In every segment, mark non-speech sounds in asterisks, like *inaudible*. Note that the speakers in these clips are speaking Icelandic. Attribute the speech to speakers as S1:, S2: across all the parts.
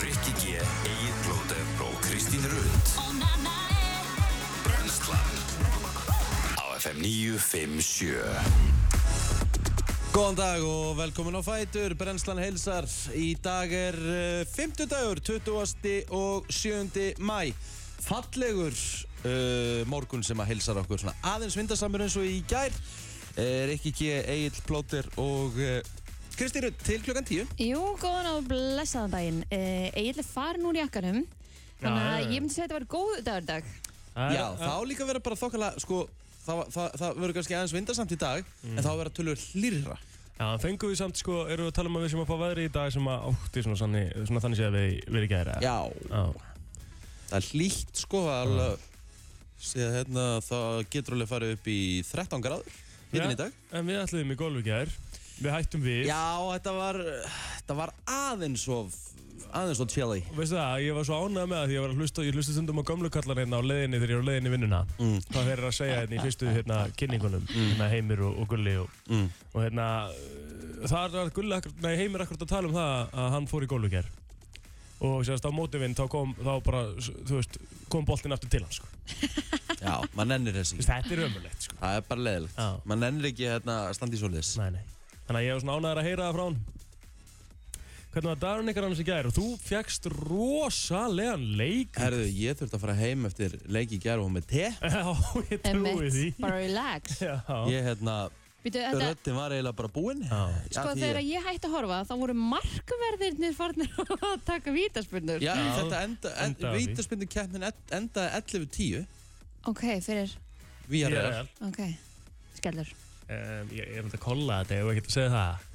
S1: Rikki G, Egil Blóter og Kristín Rund Brenslan Á FM 957
S2: Góðan dag og velkomin á Fætur, Brennslan heilsar. Í dag er uh, 50 dagur, 20. og 7. mæ. Fallegur uh, morgun sem að heilsar okkur svona aðeins vindasamur eins og í gær. Uh, Rikki G, Egil Plóter og uh, Kristi Rutt til klukkan 10.
S3: Jú, góðan og blessaðan daginn. Uh, Egil er farin úr jakkanum, þannig
S4: Já,
S3: að
S4: já, já.
S3: ég myndi segja að þetta var góð dagur í dag.
S2: Já, þá líka verður bara þokkala, sko, það, það, það verður kannski aðeins vindasamt í dag, en þá verður tölur hlýrra.
S4: Já, en fengum við samt, sko, erum við að tala um að við sem að fá veðri í dag sem að ótti svona, sanni, svona þannig séð að við, við ekki aðra.
S2: Já,
S4: Já.
S2: það er hlýtt, sko, það er
S4: Ah.
S2: alveg, séð hérna, það getur alveg farið upp í 13 gráður, hittin í dag.
S4: En við ætluðum í golf í gær, við hættum við.
S2: Já, þetta var, þetta var aðeins of, aðeins of chilly.
S4: Og Veistu það, ég var svo ánægð með það því ég var að hlusta, ég hlusta stundum á gömlu kallar hérna á leiðinni þegar ég var á leiðinni í vinnuna. Mm. Hvað þeir eru að segja hérna í fyrstu hérna kynningunum, hérna Heimir og, og Gulli og,
S2: Mm.
S4: og hérna, þar var Gulli, akkur, nei Heimir akkurat að tala um það að hann fór í golf í gær. Og sérst á mótivinn þá kom, þá bara, þú veist, kom boltinn aftur til hann, sko.
S2: Já, maður nennir þess
S4: Þú
S2: ekki.
S4: veist, þetta er ömurlegt, sko.
S2: Það er bara leðilegt.
S4: Já.
S2: Maður nennir ekki hérna að standa í svolíðis.
S4: Nei, nei. Þannig að ég var svona ánægður að heyra það frá hann. Hvernig var dagurinn ykkar annars í gær? Og þú fegst rosalegan leik.
S2: Herðu, ég þurfti að fara heim eftir leiki í gerð og með te.
S4: *laughs* Já, ég trúi því.
S3: Emmett, bara
S4: *laughs*
S3: relax.
S4: Já.
S2: Ég hérna,
S3: Býtu, þetta,
S2: röttin var eiginlega bara búinn.
S4: Já.
S2: Já,
S3: sko
S2: því
S3: þegar
S2: ég-
S3: ég hætti að horfa, þá voru markverðirnir farnir *laughs* að taka vítaspurnur.
S2: Já,
S4: Já,
S2: þetta enda, en,
S4: endaði.
S2: vítaspindu keppnin end- endaði 11.10.
S3: Ok, fyrir,
S2: Við
S4: Ég
S2: erum
S4: er
S2: það.
S3: ok, skellur.
S4: Um, ég ég er myndið að kolla þetta, ég var ekki að segja það.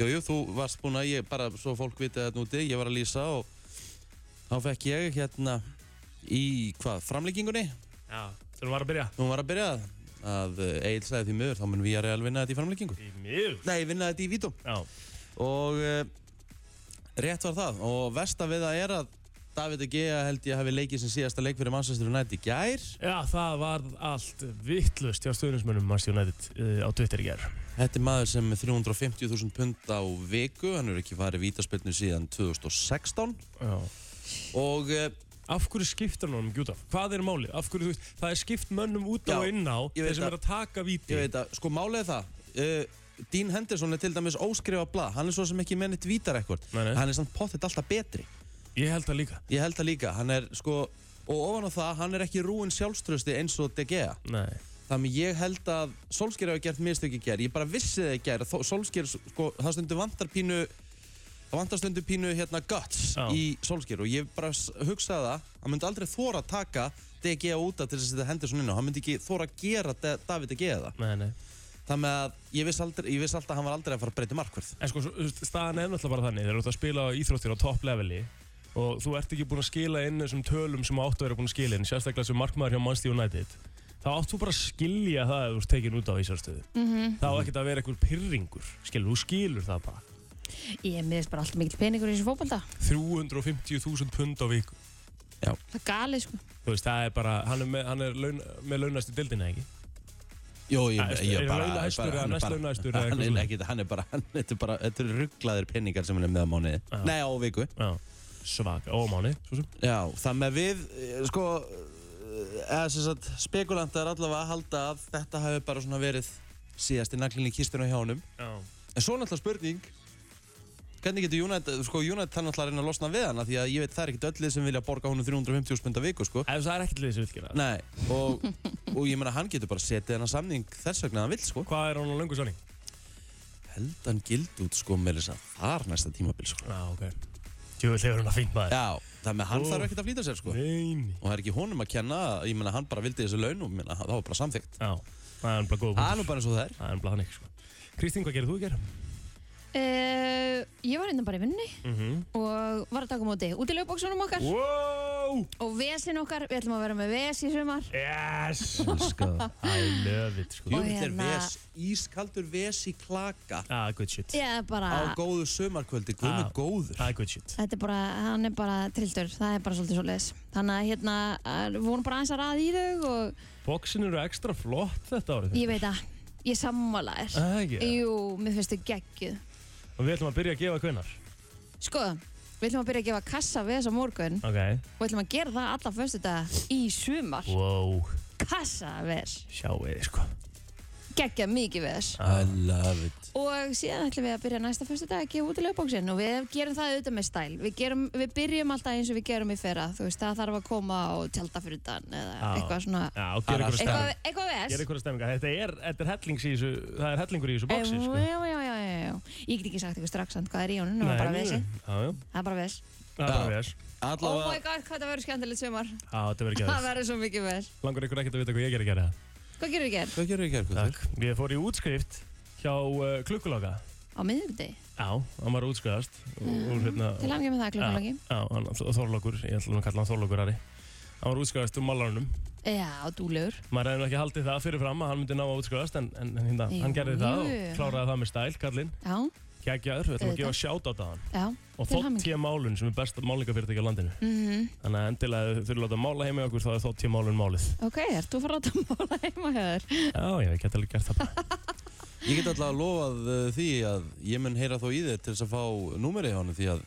S2: Jú, jú, þú varst búinn að ég, bara svo fólk vitið þetta úti, ég var að lýsa og þá fekk ég hérna í, hvað, framlíkingunni?
S4: Já. Þegar hún var að byrja.
S2: Nú var að byrja að, að Egil sagði því miður, þá mun við að reyða vinna þetta í framlengingu.
S4: Í mjög.
S2: Nei, vinna þetta í vítum.
S4: Já.
S2: Og uh, rétt var það. Og versta við það er að David Egea held ég hafi leikið sem síðasta leik fyrir Manchester United í gær.
S4: Já, það var allt vittlust hjá stöðnismönnum Mars United uh, á Twitter í gær.
S2: Þetta er maður sem er með 350.000 pund á viku. Hann er ekki farið vítaspilnu síðan 2016.
S4: Já.
S2: Og uh,
S4: Af hverju skiptar hann ekki út af? Hvað er málið? Af hverju, þú veist, það er skipt mönnum út á
S2: Já,
S4: og inn á
S2: ég veit
S4: þeir sem
S2: það.
S4: er að taka víti.
S2: ég veit að, sko málið er það. Uh, Dean Henderson er til dæmis óskrifa blað. Hann er svo sem ekki með neitt vítarekord.
S4: Nei, nei.
S2: Hann er samt pottitt alltaf betri.
S4: Ég held það líka.
S2: Ég held það líka, hann er sko og ofan á það, hann er ekki rúin sjálfströsti eins og De Gea.
S4: Nei.
S2: Þannig ég held að Solskjær hafi gert mistök í gerð, ég bara vissi það í gerð Solskjær, sko, það stundu vantar pínu það vantar stundu pínu hérna guts
S4: Já.
S2: í Solskjær og ég bara s- hugsaði það, hann myndi aldrei þóra að taka De Gea úta til þess að þetta hendur svona inn á hann myndi ekki þóra að gera De David De Gea það
S4: Nei, nei.
S2: þannig að ég vissi, aldrei, ég vissi alltaf að hann var aldrei að fara að breyta um í markverð
S4: En sko, svo- þú veist, staðan er náttúrulega bara þannig, þegar þú ert að spila á íþróttir á topp leveli og þú ert ekki búinn að skila inn þessum tölum sem áttu að vera búinn að skila inn, sérstaklega sem markmaður hjá Manchester United, þá áttu bara að skilja það ef þú ert tekin út á Ísarstöðu. Mm -hmm. Þá ekkert að vera einhver pyrringur, skilur, þú skilur það bara.
S3: Ég miðist bara alltaf mikill peningur í þessu fótbolta.
S4: 350.000 pund á viku.
S3: Það er galið, sko.
S4: Þú veist, það er bara, hann er með, hann er laun, með launast í dildina, ekki?
S2: Jó, ég,
S4: Æ,
S2: ég
S4: er
S2: bara,
S4: hann launahæstur
S2: bara-
S4: eða
S2: hann er bara-
S4: næstlaunahæstur
S2: *laughs*
S4: eða
S2: Hann er
S4: eitthvað svona?
S2: ekkert, hann er bara, hann þetta er bara, þetta eru rugglaðir penningar sem hann er með á mánuði
S4: Já.
S2: Nei, á viku
S4: Já. Svaka, ómáni, svo sem.
S2: Já, þannig að við, eh, sko, eh, eða sem sagt, spekulantar allavega að halda að þetta hafi bara svona verið síðasti naglinn í kistinu hjá honum
S4: Já.
S2: En svo náttúrulega spurning, hvernig getur United, sko, United hann náttúrulega að reyna að losna við hana Því að ég veit það er ekkert öll lið sem vilja borga honum 350 spunda viku, sko
S4: Ef það er ekkert liðið sem vil gera það.
S2: Nei, og, og ég meina hann getur bara setið hennar samning þess vegna hann vil, sko
S4: Hvað er hann á löngu sannig?
S2: held hann gild út sko með þess að þar næsta tímabil sko.
S4: Já, ok. Jú, þegar hann að fínt maður.
S2: Já, það með hann
S4: Ó.
S2: þarf ekkert að flýta sér sko.
S4: Neini.
S2: Og það er ekki honum að kenna, ég meina hann bara vildi þessu launum, meina, það var bara samþygt.
S4: Já, það er bara góð
S2: Það er nú bara eins og það er.
S4: Það er bara þannig, sko. Kristín, hvað gerir þú í gerð?
S3: Uh, ég var innan bara í vinnu
S4: Mm -hmm.
S3: og var að taka á móti út í lögbóksunum okkar
S4: Wow!
S3: og vesin okkar, við ætlum að vera með ves í sumar.
S4: Yes! Sko, I love it, sko.
S2: Jú,
S3: Og
S2: þetta er
S3: hérna-
S2: ves, ískaldur ves í klaka
S4: Ah, good shit.
S3: Ég er bara...
S2: á góðu sömarkvöldi, guð
S4: Já.
S2: með góður.
S4: Ah, good shit.
S3: Þetta er bara, hann er bara trilltur, það er bara svolítið svoleiðis. Þannig að hérna, að- vorum bara aðeins að ræða í þau og
S4: Boksin eru ekstra flott þetta árið.
S3: ég veit að, ég sammála þér.
S4: Ah, yeah.
S3: Jú, mér finnst þau geggjuð.
S4: Og við ætlum að byrja að gefa kvinnar.
S3: Sko, við ætlum að byrja að gefa kassa við þess á morgun
S4: Ok,
S3: og við ætlum að gera það alla fyrstu dag í sumar.
S4: wow,
S3: Kassa við þess.
S4: sjáu þið sko
S3: Gekkja mikið við
S4: Ah.
S3: þess.
S2: I love it
S3: Og síðan ætlum við að byrja næsta fyrstu dag að gefa út í lögbóksinn og við gerum það auðvitað með stæl. Við, gerum, við byrjum alltaf eins og við gerum í fyrra. Þú veist, það þarf að koma og tjálta fyrir utan eða
S4: Já.
S3: eitthvað svona...
S4: Ah. Já, gera ykkur að
S2: Stemming.
S3: Eitthvað,
S4: stemminga
S3: eitthvað við
S4: Gera
S3: þess.
S4: ykkur að stemminga, þetta er, þetta er hellings í þessu, það er hellingur í þessu
S3: Já,
S4: boxi sko
S3: já, já, já, já, já. Ég get ekki sagt ykkur strax samt hvað er í honum, það
S4: Nei,
S3: er bara
S4: nei, nei.
S3: við þess.
S4: Já, já,
S3: Það er bara vel.
S4: það
S2: Já.
S4: er bara við þess
S3: Oh
S2: Allavega
S3: my god, hvað það verður skemmtilegt sumar.
S4: Já, þetta verður
S3: Það
S4: ekki
S3: verður svo mikið vel.
S4: Langur ykkur ekkert að vita hvað ég gerði að gera
S3: Hvað gerur þið gerð?
S2: Hvað gerðu í gerðkvöldur?
S4: Takk Ég fór í útskrift hjá uh, klukkuloka
S3: Á miðugdegi.
S4: Já, hann var að útskrifast úr, hérna,
S3: Til hangið með það klukkulagi.
S4: Já, hann Þorlokur, ég ætla nú að kalla hann Þorlokur Ari Hann var útskrifast úr malarunum
S3: Já, dúlegur.
S4: Maður hefði nú ekki haldið það fyrirfram að hann myndi ná að útskrifast en, en en hérna,
S3: Jú,
S4: hann gerði það og
S3: jú.
S4: kláraði það með stæl, kallinn
S3: Já,
S4: Kækjaður, við ætlum að
S3: Auðvitað.
S4: gefa sjátt á hann
S3: já.
S4: Og
S3: Til
S4: þótt
S3: hamingju.
S4: tíu málun sem er besta málingafyrirtæki á landinu
S3: Mm
S4: Þannig að endilega ef þau þurfum að láta mála heima hjá okkur þá er þótt tíu málun málið
S3: Ok, ert þú farað að mála heima hjá þér?
S4: Já, já, ég geti alveg gert það bara
S2: Ég get allavega lofað uh, því að ég mun heyra þó í þér til þess að fá númerið hjá hann því að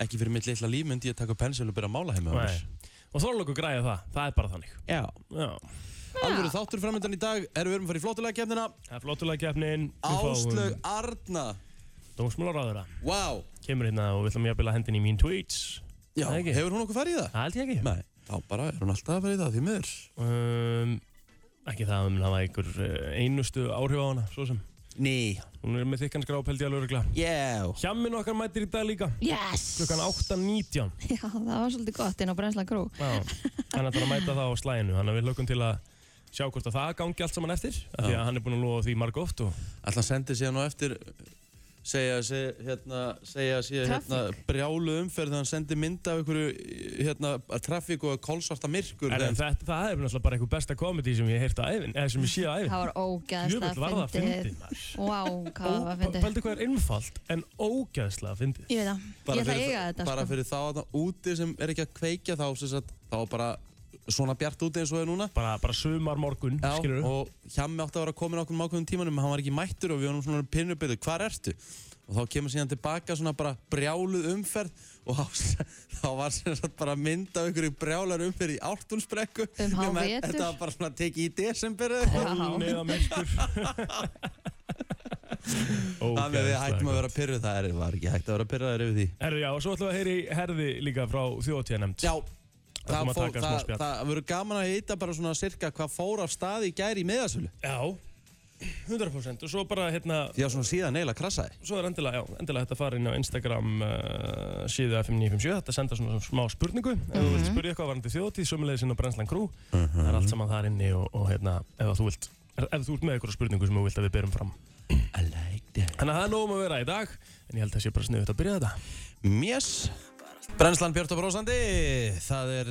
S2: ekki fyrir mitt litla líf myndi ég taka pensil og byrja að mála heima hjá
S4: Nei.
S2: mér.
S4: Og Þorlokur græði það, það er bara þannig
S2: Já.
S4: Já,
S2: Alvöru þáttur framöndan í dag er við erum að fara í flottulega kemdina
S4: það er flottulega keppnin
S2: Áslög Arna
S4: Dómsmálaráðura
S2: Vá
S4: kemur hérna og við ætlum jafnvel að hendin í mín tweets
S2: Já,
S4: Það ekki.
S2: hefur hún okkur farið í það?
S4: Það held ég ekki
S2: Nei, þá bara er hún alltaf að fara í það því miður
S4: um, Ekki það að það var einhver eh, einustu áhrif á hana Svo sem
S2: Ný
S4: Hún er með þykkan skráp held ég alveg örugla
S2: Já
S4: Hjammin okkar mætir í dag líka
S3: Yes!
S4: Klukkan 8.19
S3: Já, það var svolítið gott inn á Brennslan Krú.
S4: Hann ætlar að mæta það á slæginu Þannig að við hlökkum til að sjá hvort að það gangi allt saman eftir af Því
S2: Já.
S4: að hann er búin að lofa því marg oft og...
S2: Alltaf sendi síðan og eftir segja sig, hérna, segja sig, hérna,
S3: Traffic.
S2: brjálu umferð þegar hann sendi mynd af einhverju, hérna, trafík og kolsvarta myrkur.
S4: En en þetta, það er náttúrulega bara einhver besta komedi sem ég hef heyrt á æfin Eða sem ég sé á æfin
S3: Það var
S4: Jöfull var
S3: ógæðslega
S4: það fyndið
S3: fyndið.
S4: maður.
S3: Vá, hvað það var fyndið.
S4: Pældu hvað er innfalt en ógæðslega fyndið
S3: Ég veit það. Ég ætla að eiga þetta,
S2: bara
S3: sko.
S2: fyrir þá að það úti sem er ekki að kveikja þá, sem sagt, þá er bara svona bjart úti eins og er núna.
S4: Bara, bara sumar morgun,
S2: Já,
S4: skilur
S2: og hjá mig átti að vera komin okkur um ákveðum tímanum, en hann var ekki mættur og við varum svona pinnubyrðu, hvar ertu? Og þá kemur síðan tilbaka svona bara brjáluð umferð og þá, *laughs* þá var sem sagt bara mynd af einhverju brjálar umferð í ártunnsbrekku.
S3: Um
S2: Nema
S3: hávetur.
S2: Þetta var bara svona tekið í desember. eða-
S4: *laughs*
S3: Já,
S4: Neða
S2: *laughs*
S4: myrkur
S2: Þannig að við hættum að vera pyrruð, það er, var ekki hægt að vera pyrraðir yfir því.
S4: Herru, já, og svo ætlum við að heyri herði líka frá þjóðtíðanemnd
S2: Já,
S4: ætlum
S2: það,
S4: að
S2: fór,
S4: taka smá
S2: það,
S4: spjall.
S2: það, verður gaman að hýta bara svona cirka hvað fór af staði í gæri í miðasölu.
S4: Já, 100% Og svo bara, hérna,
S2: Því að svona síðan eiginlega krassaði.
S4: svo er endilega, já, endilega þetta fara inn á Instagram uh, síða 5957 Þetta senda svona smá spurningu Ef þú vilt spurja eitthvað varandi þjóðtíð, sömulegis inn á Brennslan Crew
S2: Mhm.
S4: Það er allt saman þar inni og, og hérna, ef að þú vilt Ef ef þú ert með eitthvað spurningu sem þú vilt að við berum fram
S2: I like that.
S4: Þannig að það er nóg um að vera í dag En ég held að sé bara sniðut að byrja þetta
S2: Mjess Brennslan Björn og Brósandi Það er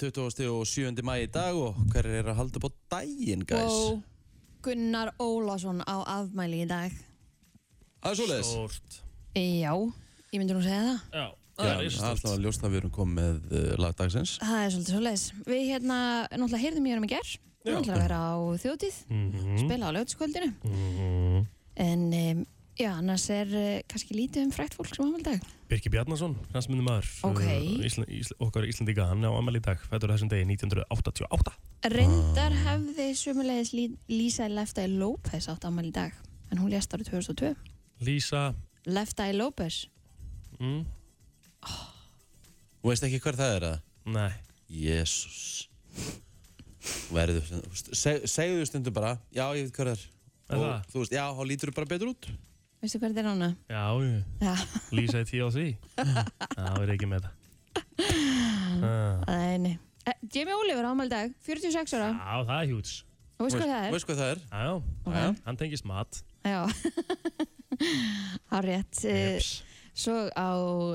S2: uh, 27. mæ í dag og hver er að halda upp á daginn, guys?
S3: Og Gunnar Ólásson á afmæli í dag.
S2: Það er svoleiðis
S4: Stórt
S3: Já, ég myndi nú segja það.
S4: Já,
S2: Já,
S4: það er
S2: alltaf
S4: risastórt
S2: að ljósna við erum komið með uh, lagdagsins
S3: Það er svolítið svolítið. Við hérna, náttúrulega heyrðum í honum í gerð. Við
S4: Já.
S3: ætlum að vera á þjótið,
S2: Mm.
S3: spila á lögutskvöldinu.
S4: Mhm.
S3: En um, já, annars er uh, kannski lítið um frækt fólk sem ámæli dag.
S4: Birki Bjarnason, knastmyndu maður
S3: Ok.
S4: Ísla, Ísla, Okkar Íslandíka, hann á amal í dag Fættur þessum degi 1988
S3: Reyndar
S2: Ah.
S3: hefði sömulegis lí, Lisa Leftai López átt ámæli í dag. En hún lést árið 2002.
S4: Lísa
S3: Leftai López.
S4: mm,
S2: Þú veist ekki hver það er að?
S4: Nei,
S2: Jésús Verður seg, Segðu þú stundum bara Já, ég veit hver það
S4: Er
S2: er og,
S4: það?
S2: Þú veist, já, þá lítur þú bara betur út
S3: Veistu hvað þetta er núna?
S4: já, *laughs* jú.
S3: Já,
S4: Lísa er tíu á því *laughs* Það er ekki með
S3: *laughs*
S4: það Ah.
S3: það er eini. Jamie Oliver ámæli í dag, 46 ára.
S4: Já, það er hjúts
S3: Og veistu hvað það
S2: Þú
S3: er?
S2: veist hvað það er?
S4: Já, já,
S3: Okay.
S4: hann tengist mat
S3: Já. *laughs* Há rétt. eh,
S4: Eps.
S3: Svo á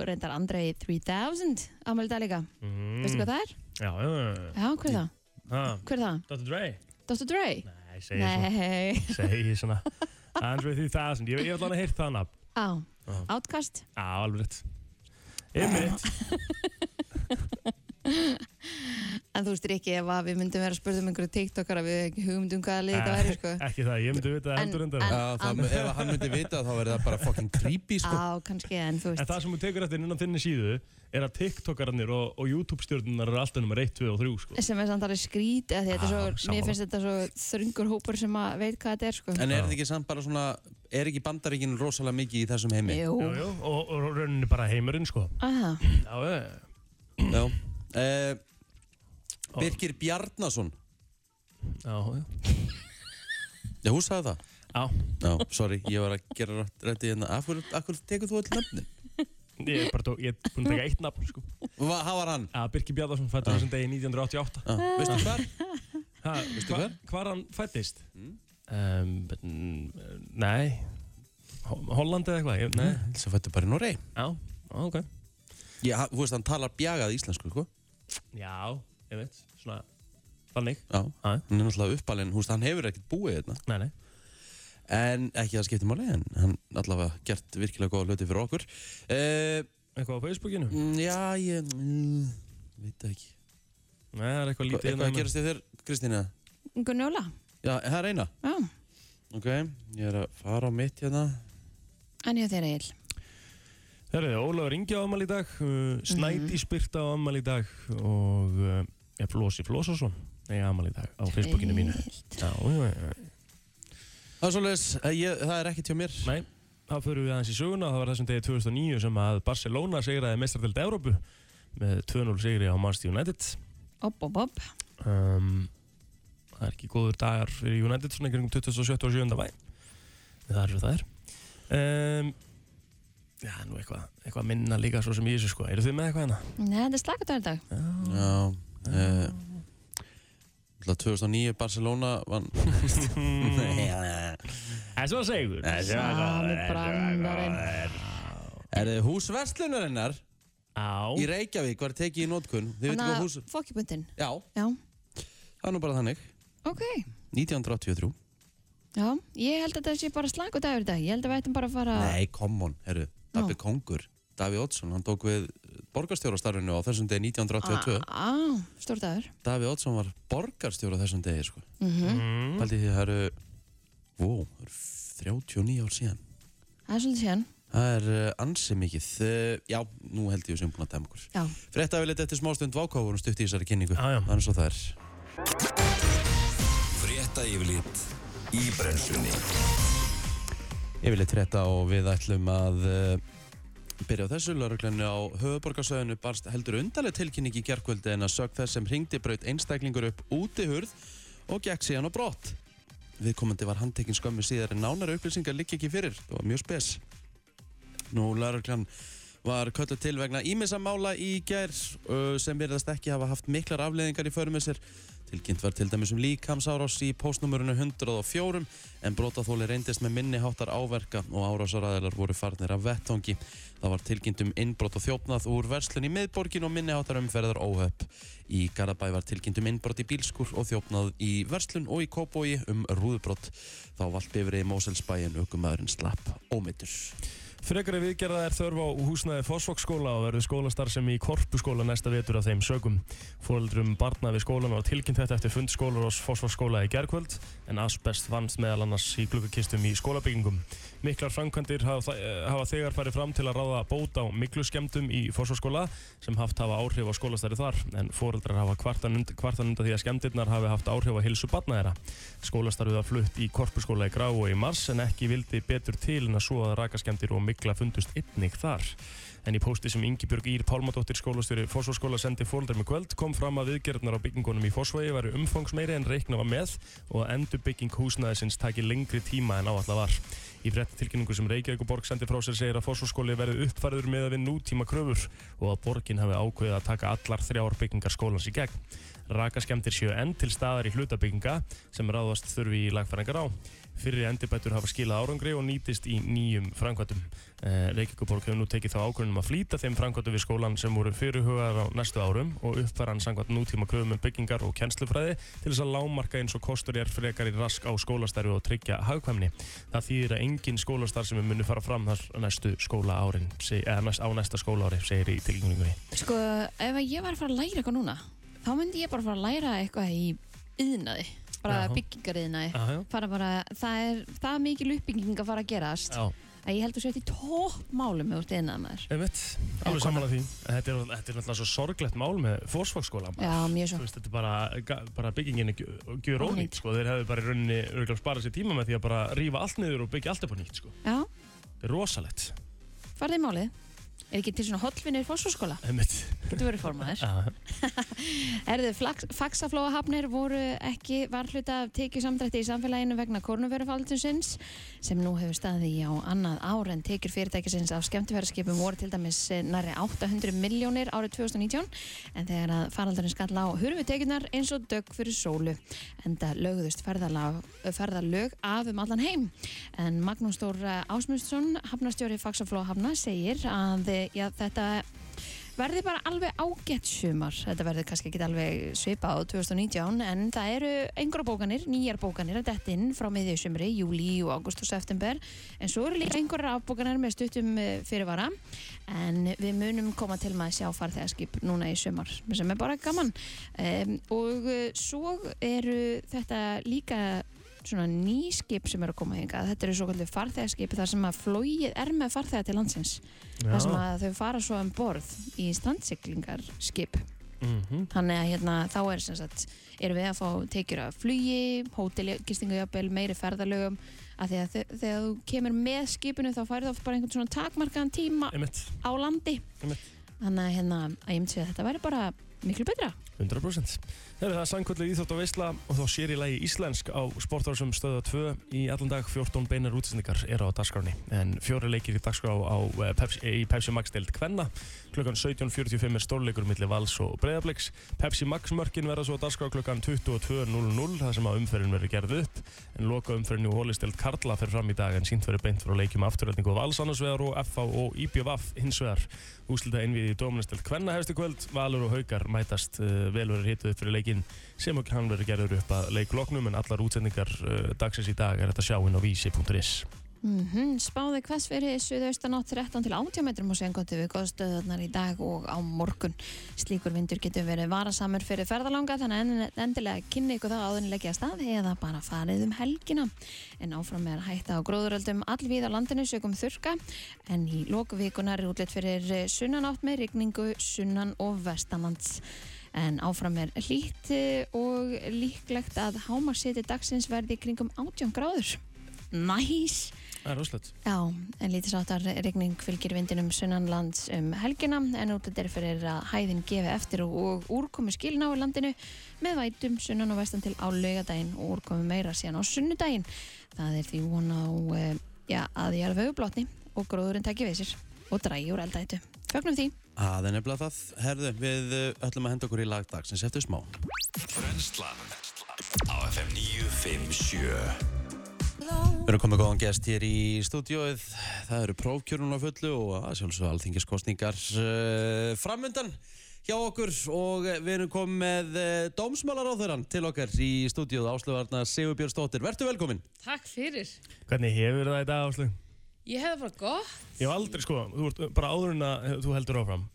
S3: reyndar Andrei 3000 ámæli dag líka.
S4: Mm.
S3: Veistu hvað það er?
S4: Já, já, já
S3: Já, hver er það?
S4: Ah,
S3: Hver er það?
S4: Dr. Dre
S3: Dr. Dre?
S4: Nei, segi svona,
S3: Nei.
S4: segi svona. Andrew 3000, ég, ég ætla hann að heyrt það nafn
S3: Á,
S4: Já.
S3: Outcast.
S4: Já, alveg rétt Einmitt
S3: En þú veist ekki ef að við myndum vera að spurða um einhverju TikTokar að við hefum ekki hugmyndum hvaða lið þetta væri
S4: *laughs*
S3: sko.
S4: Ekki það, ég myndi vita það
S3: En-
S4: heldur
S3: en- Ah.
S4: endar.
S2: Já, það,
S3: Am-
S2: ef hann myndi vita þá verður það bara fucking creepy sko.
S3: Á, kannski, en þú
S4: En
S3: veist.
S4: það sem þú tekur eftir innan þinni síðu er að TikTokararnir og, og YouTube-stjórnunar eru alltaf nummer 1, 2 og 3 sko.
S3: sem er samt alveg skrít að þetta er
S4: Já,
S3: svo, mér
S4: sammála.
S3: finnst þetta svo þröngur hópur sem að veit hvað þetta er sko.
S2: En er þetta ekki samt bara svona Er ekki bandaríkinn rosalega mikið í þessum heimi?
S3: Jú,
S4: Jú, jú, og, og rauninni bara heimurinn sko.
S3: aha,
S4: Já, já, já.
S2: Já uh, Birgir Bjarnason
S4: Já, já.
S2: Já, hún sagði það
S4: Já.
S2: Já, sorry, ég var að gera rætt- rætti hérna Af hverju, af hverju tekur þú öll nöfnin?
S4: Ég er bara tók, ég er búin að taka eitt nafn sko.
S2: Hva, Hvað var hann?
S4: Já, Birki Bjarðarsson fættur þessum degi 1988.
S2: Já, veistu hvar?
S4: Ha,
S2: Veistu
S4: hva-
S2: hver?
S4: Hvar hann fættist? Um, but, mm, nei, Ho- Holland eða eitthvað, ég, nei,
S2: Sem fættu bara í Norei
S4: já, ok.
S2: Já, hann- þú veist, hann talar bjagað íslensku, sko
S4: Já, ég veit, svona, þannig.
S2: Já,
S4: Já,
S2: hann er náttúrulega uppalinn Þú veist, hann hefur ekkert búið hérna
S4: nei, nei.
S2: En ekki að það skipti máli En hann allavega gert virkilega góða hluti fyrir okkur uh,
S4: Eitthvað á Facebookinu?
S2: Já, ég mm, Veit það ekki
S4: Nei, það er eitthvað
S2: Hva,
S4: lítið.
S2: Eitthvað
S4: hérna
S2: að
S4: með-
S2: gerast í þér, Kristína?
S3: Gunnjóla,
S2: um Já, það er eina
S3: já,
S2: Ok, ég er að fara á mitt hérna
S3: en ég á þér Egil.
S4: Herriði, Ólafur Ingi á ammali í dag, uh, Snæti Spyrta á ammali í dag og uh, ég Flósi Flósarsson er ammali í dag á Facebookinu mínu.
S3: Egil.
S4: Já, já, já.
S2: Það er svoleiðis, eh, ég- það er ekkert hjá mér
S4: Nei, þá fyrir við aðeins í söguna. Það var þessum degi 2009 sem að Barcelona segraði meistardelt Evrópu með 2-0 segri á Manchester United.
S3: Opp, opp, opp.
S4: Um, það er ekki góður dagar fyrir United svona kringum 27. og 7. mæ. Það er svo það er. Um, já, nú eitthvað, eitthvað minna líka svo sem í þessu sko. Eru þið með eitthvað hérna?
S3: Nei, þetta er slakatóri dag.
S2: Já uh, 2009 Barcelona *laughs* vann
S4: Það er svo segur.
S3: Sami brandarinn.
S2: Er þið hús Vestlunarinnar í
S4: Á,
S2: Reykjavík var tekið í nótkun Þið veitum hvað hús
S3: fokkjupuntin,
S2: Já,
S3: já,
S2: það er nú bara þannig
S3: ok.
S2: 1983
S3: Já, ég held að þetta sé bara slakatóri dag. Ég held að við ættum bara að fara...
S2: Nei, come on, herru, Dabbi
S3: Nú.
S2: Kongur Daví Oddsson, hann tók við borgarstjórastarfinu á þessum degi 1982
S3: Á, stór dagur.
S2: Daví Oddsson var borgarstjóra á þessum degi sko.
S3: Mhm.
S4: mm,
S2: Paldi því það eru wow, það eru 39 ár síðan
S3: Það er svolítið síðan.
S2: Það er uh, ansi mikið uh, Já, nú held ég sem búin að dæma okkur
S3: Já.
S2: Frétta við eftir smástund vákáfur og stutt í þessari kynningu
S4: Já, já.
S2: Þannig svo það er
S1: Frétta yfirlit í brennslunni
S2: Yfirleitt frétta og við ætlum að uh, byrja á þessu lauruglunni á höfuborgarsöðinu barst heldur undarleg tilkynning í gerkvöldi en að sög þess sem hringdi braut einstaklingur upp útihurð og gekk síðan á brott. Viðkomandi var handtekinn skömmu síðar en nánari upplýsingar liggi ekki fyrir. Það var mjög spes. Nú, lauruglan var kölluð til vegna ímissamála í gær uh, sem virðast ekki hafa haft miklar afleðingar í förum með sér. Tilkynnt var til dæmis um líkamsárás í postnumurinu 104 en brotaþóli reyndist með minni háttar áverka og árásaræðilar voru farnir af vettongi. Það var tilkynnt um innbrot og þjófnað úr verslun í miðborgin og minni háttar umferðar óhöpp. Í Garabæ var tilkynnt um innbrot í bílskur og þjófnað í verslun og í Kópói um rúðbrot. Þá vald bifrið í Móselsbæin aukumæðurinn slapp ómittur.
S4: frekari viðgerða er þörf á húsnaði Fossvoksskóla og verður skólastarfsemi í Korpuskóla næsta vetur af þeim sögum. Fóreldrum barna við skólan var tilkynnt þetta eftir fund skólar og Fossvoksskóla í gerkvöld en asbest vannst meðal annars í glukkakistum í skólabyggingum. Miklar framkvæmdir hafa, eh, hafa þegar farið fram til að ráða bóta á mikluskemdum í Fossvoksskóla sem haft hafa áhrif á skólastari þar en fóreldrar hafa kvartan und- kvartan undan því að skemmdirnar hafi haft áhrif á hilsu barna þeirra. Skólastarfið var flutt í korpuskóla í Gráu í mars en ekki vildi betur til en að svo að rakaskemdir og mikla fundust einnig þar. En í pósti sem Ingibjörg Ír Pálmadóttir skólastjóri Fósvóskóla sendi fóldar með kvöld kom fram að viðgerðnar á byggingunum í Fósvægi væri umfangsmeiri en reikna var með og að endurbygging húsnæðisins taki lengri tíma en áallar var. Í fréttatilkynningu sem Reykjavíkuborg sendi frá sér segir að Fósvóskóli verði uppfærður með að við nútíma kröfur og að borgin hafi ákveðið að taka allar þrjár byggingar skólans í gegn. Rakaskemdir séu enn til staðar í hlutabygginga sem ráðast þurfi í lagfæringar á. Fyrir endurbætur hafa skilað árangri og nýtist í nýjum framkvæmdum. Eh, Reykjavíkuborg hefur nú tekið þá ákvörðunum að flýta þeim framkvæmdum við skólan sem voru fyrirhugaðar á næstu árum og uppfæra hann samkvæmt nútíma kröfum um byggingar og kennslufræði til þess að lámarka eins og kostur er frekar í rask á skólastarfi og tryggja hagkvæmni. Það þýðir að engin skólastar sem muni fara fram þar næstu skóla árin, eða næst, á næsta skóla ári, segir í tilgjöningunni.
S3: Sko, ef að ég var að fara að læra eitthvað núna, þá þá myndi ég bara fara að læra eitthvað í yðnaði, bara
S4: Já.
S3: byggingariðnaði
S4: Aha, já.
S3: fara bara, það er það er mikil uppbygging að fara að gerast
S4: Já,
S3: að ég heldur sér í toppmálum með út yðnað maður
S4: einmitt, alveg samanlega því En Þetta er, þetta er náttúrulega svo sorglegt mál með fórsvagsskóla
S3: já, mjög svo,
S4: Þú veist, þetta er bara, ga- bara byggingin er gjö- gjör ónýtt sko. Þeir hefðu bara í rauninni örgulega sparað sér tíma með því að bara rífa allt niður og byggja allt upp á nýtt sko.
S3: já,
S4: Þetta er rosalegt
S3: farði í málið er ekki til svona hotlinir fórsvóskóla
S4: Einmitt
S3: getur verið formaður
S4: Já,
S3: Erðu, faxaflóahafnir voru ekki var hluta af tekjusamdrætti í samfélaginu vegna kornuverufaldusins sem nú hefur staðið í á annað ár en tekjur fyrirtækisins af skemmtifæraskipum voru til dæmis eh, nærri 800 miljónir árið 2019 en þegar að faraldurinn skall á hurfu tekjurnar eins og dögg fyrir sólu en það lögðust ferðalag, ferðalög af um allan heim en Magnús Þór eh, Ásmundsson hafnarstjóri faxaflóahafna segir að eh, já, þetta verði bara alveg ágætt sumar þetta verði kannski ekki alveg svipað á 2019 en það eru einhverja bókanir nýjar bókanir að detta inn frá miðju sumri júli og águst og september en svo eru líka einhverja afbókanir með stuttum eh, fyrirvara en við munum koma til með að sjá farþegarskip núna í sumar sem er bara gaman um, og eh, svo eru þetta líka svona ný skip sem eru að koma hingað þetta eru svo kallið farþegarskip þar sem að flóið er með farþegar til landsins þar sem að þau fara svo um borð í strandsiglingarskip
S4: Mhm.
S3: þannig að hérna, þá er sem sagt erum við að fá tekjur af flugi hótelgistingujafbel, meiri ferðalögum að því að þe- þegar þú kemur með skipinu þá færðu þá bara einhvern svona takmarkaðan tíma
S4: Einmitt,
S3: á landi
S4: Einmitt.
S3: þannig að, hérna, að ég myndi segja að þetta væri bara miklu betra
S4: 100% Herri, það er sannkvöldlega íþrótt og veisla og þá sér í lagi íslensk á sportvarsum stöða 2 í allan dag 14 beinar útsendingar eru á dagskráni en fjóri leikir í dagskrá á eh, Pepsi, í Pepsi Max deild Kvenna klukkan 17.45 er stórleikur milli Vals og Breiðabliks Pepsi Max mörkin verða svo á dagskrá klukkan 22.00 þar sem að umferðin verður gerð upp en loka umferðin í Hólisteild Karla fer fram í dag en sínt verður beint frá leikjum afturöldingu og Vals annars vegar og FH og IBVF hins vegar Úslita einvið í Dóminastelt Kvenna hefst í kvöld, Valur og Haukar mætast uh, vel verður hituð upp fyrir leikinn sem og hann verður gerður upp að leikloknum en allar útsendingar uh, dagsins í dag er þetta sjáinn á vísi.is
S3: Mm spáði hvassfyrir suðaustanátt 13 til 18 metrum og sengóttu við góðstöðunar í dag og á morgun. Slíkur vindur getur verið varasamur fyrir ferðalanga þannig en endilega kynni ykkur það áðunilegja stað eða bara farið um helgina. En áfram er hætta á gróðuröldum allvíð á landinu sögum þurka en í lókuvíkunar er útlitt fyrir eh, sunnanátt með rigningu sunnan og vestalands. En áfram er hlýtt eh, og líklegt að hámarsiti dagsins verði í kringum 18 gráður. Næs!
S4: Það er rosalegt
S3: Já, en lítið sáttar regning fylgir vindinum sunnanlands um helgina en útlætt er fyrir að hæðin gefi eftir og, og úrkomi skilna á landinu með vætum sunnan og vestan til á laugadaginn og úrkomi meira síðan á sunnudaginn. Það er því von á eh, já, að ég er vögublotni og gróðurinn tekja við sér og drægi úr eldættu. Fögnum því.
S2: Það er nefnilega það, herðu, við uh, ætlum að henda okkur í lagdagsins eftir smá.
S1: Brennslan Á FM 957
S2: Við erum komið góðan gest hér í stúdióið, það eru prófkjörnun á fullu og að sjálfsög alþingiskostningar uh, framundan hjá okkur og eh, við erum komið með uh, dómsmálaráðurann til okkar í stúdióið Áslöfarna Sigurbjörnsdóttir. Vertu velkomin.
S5: Takk fyrir.
S4: Hvernig hefur það í dag Áslu?
S5: Ég hefði bara gott.
S4: Ég hef aldrei sko, þú ert bara áður en að eh, þú heldur áfram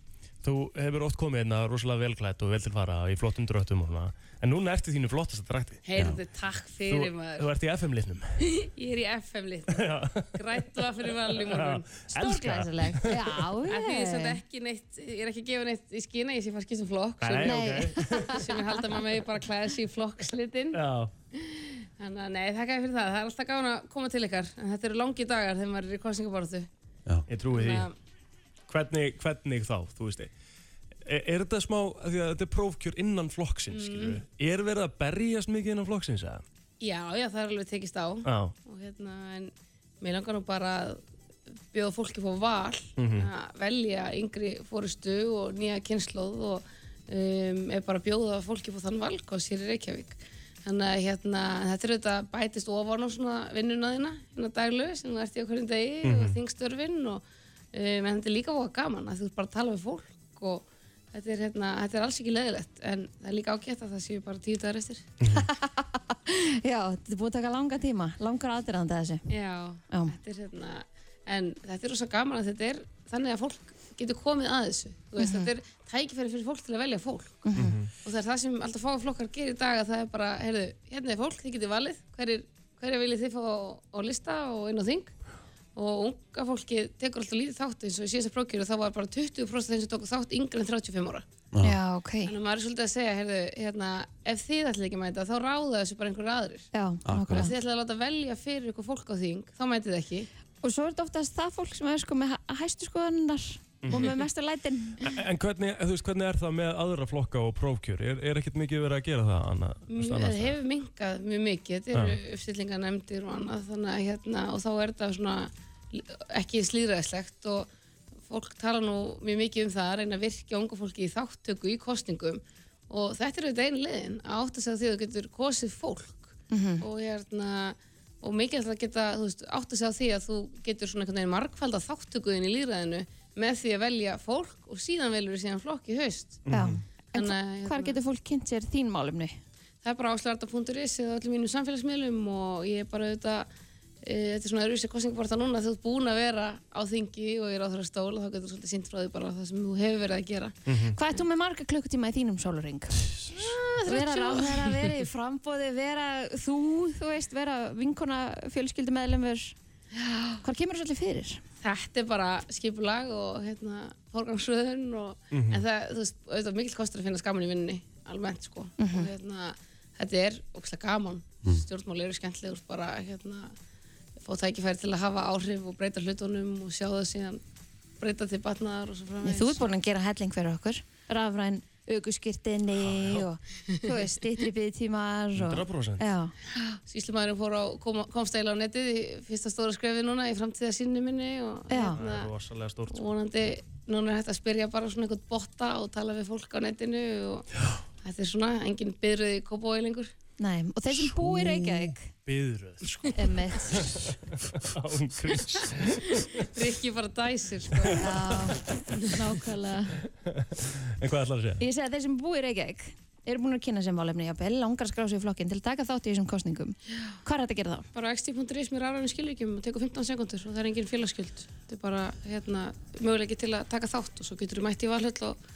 S4: Þú hefur oft komið hérna rosalega velklætt og vel til fara í flottum dröttum og svona En núna ertu í þínu flottasta drætti
S5: Heyrðu, takk
S4: Þú,
S5: fyrir maður.
S4: þú ert í FM-litnum
S5: Ég er í FM-litnum. Grætt var fyrir vann í morgun.
S3: Stórglæsileg. *laughs* Já,
S5: En því ég er samt
S3: ég.
S5: ekki neitt, ég er ekki að gefa neitt í skýna, ég sé fara að skýra sem flokk.
S4: Nei,
S5: Sem,
S3: Nei.
S4: ok
S5: sem ég halda maður megi bara að klæða sig í flokkslitinn.
S4: Já,
S5: Þannig að nei, þakka ég fyrir það. Það er alltaf gáðan að koma til ykkar. En þetta eru langi dagar þegar maður er í kostningaborðu.
S4: ég trúi því
S5: Þannig að
S4: hvernig, hvernig þá, þú veist er, er þetta smá, af því að þetta er prófkjör innan
S5: Mm.
S4: flokksins, skilur við er verið að berjast mikið innan flokksins, eða?
S5: Já, já, það er alveg tekist á.
S4: Já,
S5: Og hérna, en mér langar nú bara að bjóða fólki fór val að velja yngri fórustu og nýja kynnslóð og um, er bara að bjóða fólki fór þann valkost hér í Reykjavík. Þannig að hérna, þetta er auðvitað bætist ofan á svona vinnuna þína, hérna daglu sem þú ert í okkurinn degi og þingstörfin og um, en þetta er líka okkar gaman að þú ert bara að tala við fólk og þetta er, hérna, þetta er alls ekki leðilegt en það er líka ágætt að það séu bara tíu dagar eftir.
S3: *laughs* Já, þetta er búið að taka langa tíma, langar aðdurðandi þessu.
S5: Já,
S3: Já.
S5: þetta er hérna en þetta er rosa gaman að þetta er þannig að fólk getur komið að þessu Þú veist, þetta er tækifæri fyrir fólk til að velja fólk og það er það sem alltaf fáflokkar gerir í dag að það er bara, heyrðu, hérna er fólk þið getur valið, hverjir hverja viljið þið fá á, á lista og inn á þing og unga fólki tekur alltaf lítið þátt eins og í síðasta prókjöru þá var bara 20% þeim sem tóku þátt yngri en 35 ára
S3: já, ok
S5: þannig að maður er svolítið að segja, heyrðu, hérna ef þið ætlið ekki að mæta þá ráða þessu bara einhverjir aðrir
S3: Já,
S5: ef
S3: nákvæmlega.
S5: þið ætlið að láta velja fyrir ykkur fólk á þing þá mætið þið ekki
S3: og svo er þetta oftast það fólk sem er sko með hæ- hæstu skoðanar og með mestu lætin
S4: En hvernig, þú veist, hvernig er það með aðra flokka og prófkjör? Er, er ekkert mikið verið að gera það annað? þú veist,
S5: Mm, það
S4: annars staðar?
S5: hefur minkað mjög mikið, þetta eru uppstillingarnemndir og annað þannig að hérna og þá er þetta svona ekki slíðræðislegt og fólk tala nú mjög mikið um það að reyna að virkja ungu fólki í þáttöku í kostningum og þetta er auðvitað einu leiðin að átta sig á því að þú getur kosið fólk og hérna og mikilvægt að geta, þú veist, átta sig á því að þú getur svona einhvern veginn margfald að þáttökuðin í líðræðinu með því að velja fólk og síðan velur þú síðan flokk í haust
S3: Já. En
S5: Þannig
S3: hva-
S5: að,
S3: hvar
S5: hérna-
S3: getur fólk kynnt sér þín málumni?
S5: það er bara áslarda.is eða öllum mínum samfélagsmiðlum og ég er bara auðvitað e, þetta er svona öðruvísi kostningabarta núna þú ert búin að vera á þingi og ég er á þeirra stól og þá getur þú svolítið sínt frá því bara það sem þú hefur verið að gera
S3: Hvað ert þú með marga klukkutíma í þínum sóluring? Vera ráðherra, vera í frambóði, vera þú, þú veist, vera vinkona fjölskyldumeðlumur. Hvað kemur þessu allir fyrir?
S5: þetta er bara skipulag og hérna forgangsröðun og
S3: Mhm.
S5: en það, þú veist, auðvitað mikill kostur að finna skaman í vinninni almennt sko
S3: Mhm.
S5: og hérna, þetta er ógslag gaman
S3: Mm.
S5: stjórnmál eru skemmtilegur bara hérna, fá tækifæri til að hafa áhrif og breyta hlutunum og sjá það síðan breyta til batnaðar og svo framvegis
S3: Þú ert búin að gera helling fyrir okkur. Rafræn, aukuskirtinni og þú veist, stittri byggtímar.
S4: 100%.
S3: Já,
S5: Sýslumæðurinn fór á, kom, komst eiginlega á netið í fyrsta stóra skrefi núna í framtíðasinnu minni og
S3: Já.
S4: Það er rosalega stórt.
S5: og vonandi núna er hægt að spyrja bara svona einhvern botta og tala við fólk á netinu og þetta er svona engin byrðið í kópói lengur.
S3: næm. Og þeir sem búi í Reykjavík,
S4: Byðröð, sko, *laughs*
S3: emmitt.
S4: án grís.
S5: Rikki bara dæsir sko.
S3: Já, nákvæmlega.
S4: En hvað ætlar að segja?
S3: Ég segi að þeir sem búi í Reykjavík eru búin að kynna sem málefni, jafnvel, langar að skrá sig í flokkinn til að taka þátt í þessum kostningum. Hvað er þetta að gera þá?
S5: Bara á xt.is mér aðraðum skilvíkjum og tekur 15 sekundur og það er engin félagskyld. Þetta er bara hérna, möguleiki til að taka þátt og svo getur þú mætt í valhöll og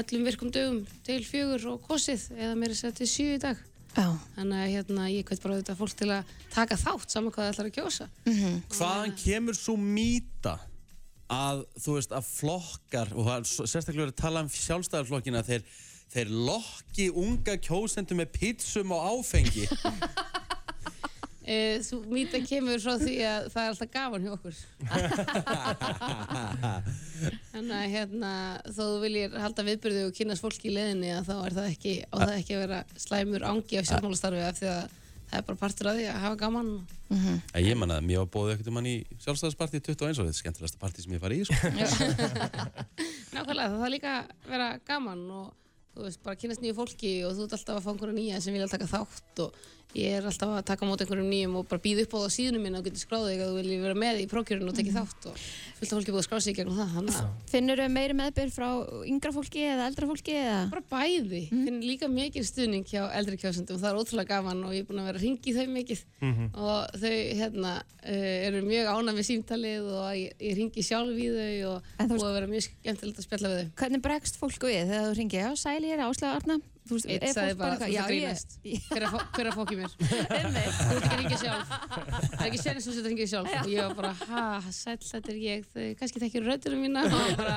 S5: öllum virkum dögum til fjögur og kosið eða meira sér til sjö í dag.
S3: Já.
S5: Þannig að hérna, ég kveit bara auðvitað fólk til að taka þátt saman hvað það ætlar að kjósa.
S2: Hvaðan kemur svo mýta að, þú veist, að flokkar og það er s- sérstaklega verið að tala um sjálfstæðarflokkina þeir, þeir lokki unga kjósendur með pítsum og áfengi
S5: Eh, Þú mýta kemur frá því að það er alltaf gaman hjá okkur. Þannig að hérna, þó þú viljir halda viðbyrðu og kynast fólki í leiðinni að þá er það ekki, á það ekki að vera slæmur angi af sjálfmálastarfi af því að það er bara partur af því að hafa gaman.
S2: Æ, Ég man að mér var bóðið ekkert um hann í sjálfstæðarspartið 21 og þetta er skemmtilegasta partið sem ég farið í sko.
S5: Nákvæmlega, það þarf líka að vera gaman og þú veist, bara kynast nýju fólki og þú ert alltaf að fá einhverja nýja sem vilja taka þátt og ég er alltaf að taka á móti einhverjum nýjum og bara býð upp á það á síðunum minna og getur skráðið þig að þú viljið vera með í prókjörun og
S3: Mhm.
S5: tekið þátt og fullt af fólki er búið að skráða sig í gegnum það, þannig að
S3: Finnur þau meiri meðbyr frá yngra fólki eða eldra fólki eða?
S5: bara bæði,
S3: Mhm.
S5: finn líka mikið stuðning hjá eldri kjósendum, það er ótrúlega gaman og ég er búin að vera að ringi þau mikið
S3: Mhm.
S5: og þau hérna uh, eru mjög ánað með símtalið og ég, ég ringi sjálf í þau og
S3: En þú-
S5: búið að vera mjög skemmtilegt að spjalla við þau
S3: Hvernig bregst fólk við þegar þú ringir? Já, sæli hér, Áslega Arna. Þú veist,
S5: Eitt
S3: er
S5: sagði
S3: fólk
S5: bara, þú
S3: eitthvað,
S5: ert að
S3: "Já, *laughs* ég-
S5: grínast Hver að fó- hver að fókja mér? Þú ert ekki að ringja sjálf Það er ekki senast þú setur að ringja sjálf og ég var bara, ha, sæll, þetta er ég þau kannski þekkir röddunum mína og bara,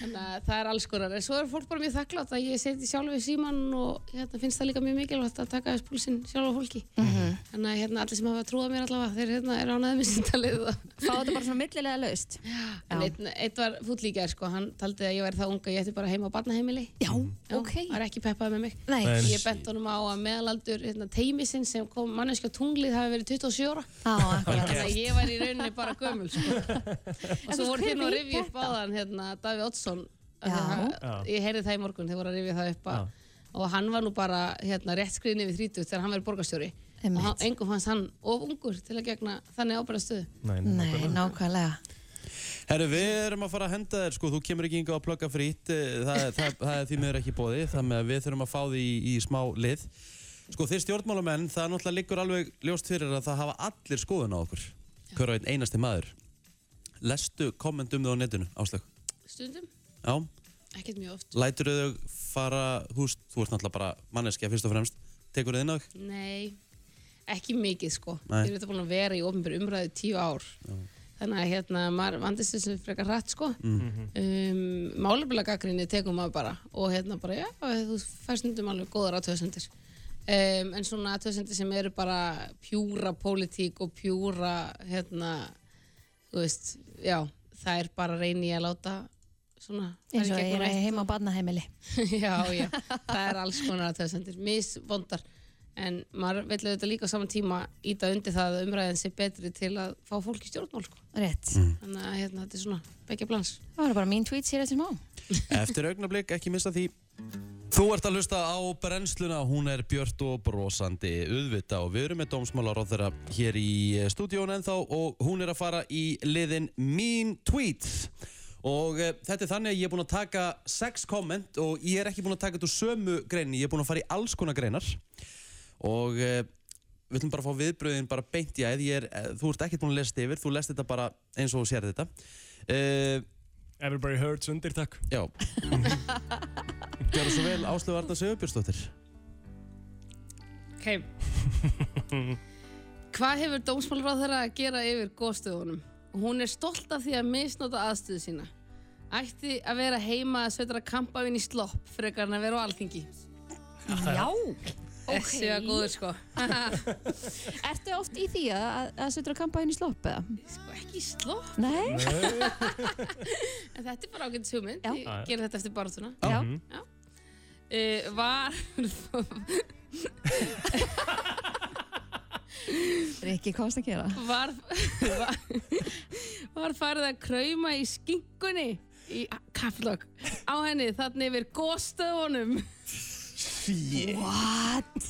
S5: þannig að það er alls konar en svo er fólk bara mjög þakklátt að ég seti sjálf við síman og hérna, finnst það líka mjög mikilvægt að taka þess púlsinn sjálf á fólki
S3: Mhm.
S5: þannig að hérna, allir sem hafa trúað mér allavega þeir hérna, er ánæðið með síntalið og
S3: Fá þetta bara svona millilega laust.
S5: En einn, einn var fúll í gær sko, hann taldi að ég væri það unga, ég ætti bara heima á barnaheimili
S3: Já,
S5: Já,
S3: ok.
S5: var ekki peppað með mig
S3: Nei,
S4: Nei.
S5: Ég bent honum á að meðalaldur hérna, teimisinn sem kom manneskja á tunglið hafi verið 27 ára.
S3: á, akkurat.
S5: Þannig að ég var í rauninni bara gömul, sko. Og svo
S3: veist,
S5: voru
S3: hver
S5: þér nú að
S3: veit
S5: rifja upp áðan, hérna, Davíð Oddsson. Hérna,
S3: Já.
S5: Ég heyrði það í morgun, þeir voru að rifja það upp að. Og hann var nú bara, hérna, rétt skriðin yfir 30 þegar hann verið borgarstjóri.
S3: Einmitt.
S5: Og hann- engum fannst hann of ungur til að gegna þannig ábæra stöðu.
S4: Nei, nei,
S3: *laughs* Nei, nákvæmlega.
S2: Herru, við erum að fara að henda þér, sko, þú kemur ekki yngi á að plugga frýtt, Eh, það, það, það er því miður ekki bóði, þannig að við þurfum að fá því í, í smá lið. Sko, þeir stjórnmálamenn, það er náttúrulega liggur alveg ljóst fyrir að það hafa allir skoðun á okkur, hver og einn einasti maður. Lestu kommentum þau á netinu, Áslög?
S5: stundum,
S2: Já,
S5: ekkert mjög oft.
S2: lætur þau fara, húst, þú ert náttúrulega bara manneskja fyrst og fremst, tekur þau inn á þau?
S5: Nei, ekki mikið sko.
S2: Nei.
S5: Ég er þetta búin að vera í ofnbjörn umræðu í tíu ár. Þannig að hérna, maður vandist þessu frekar hratt sko.
S2: Mhm.
S5: Um, Málefnilagaggrinni tekum maður bara og hérna bara, já, þú færst stundum alveg góðar aðtöðsendir. Um, en svona aðtöðsendir sem eru bara pjúra pólitík og pjúra, hérna, þú veist, já, það er bara reyni að láta svona. fara í
S3: eins og
S5: gegnum
S3: ég
S5: eitt
S3: er heima á barnaheimili
S5: *laughs* já, já, það er alls konar aðtöðsendir, misvondar en maður vil auðvitað líka á saman tíma íta undir það að umræðin sé betri til að fá fólk í stjórnmál sko.
S3: Rétt,
S5: þannig að hérna, þetta er svona begja blans
S3: það var bara mín tweets hér eftir smá
S2: Eftir augnablík, ekki missa því. Þú ert að hlusta á brennsluna, hún er björt og brosandi auðvita og við erum með dómsmálaróðara hér í stúdíón ennþá og hún er að fara í liðin Mean Tweets. Og e, þetta er þannig að ég er búinn að taka sex komment og ég er ekki búinn að taka þetta úr sömu greinni, ég er búinn að fara í alls konar greinar og e, við ætlum bara að fá viðbröðin bara beint í æð, Ég er, eh, þú ert ekkert búinn að lesa þetta yfir, þú lest þetta bara eins og þú sér þetta. E,
S4: Everybody hurts undir, takk.
S2: Já *laughs* Gjörðu svo vel Áslöf Arna Sigurbjörnsdóttir
S5: ok hvað hefur dómsmálráð þeirra að gera yfir góðstöðunum hún er stolt af því að misnota aðstöðu sína ætti að vera heima að sveitara kampavinn í slopp frekar en að vera á alþingi
S3: Já,
S5: þessi var góður sko
S3: Ertu oft í því að, að, að setur að kampa henni í slopp eða?
S5: *laughs* sko ekki í slopp,
S3: Nei?
S5: en þetta er bara ágætis hugmynd
S3: Já.
S5: ég ger þetta eftir barátuna
S3: Já,
S5: uh, var *laughs*
S3: Rikki komst að gera
S5: var, var var farið að krauma í skinkunni í kafflokk á henni þannig yfir góðstöðunum
S3: What?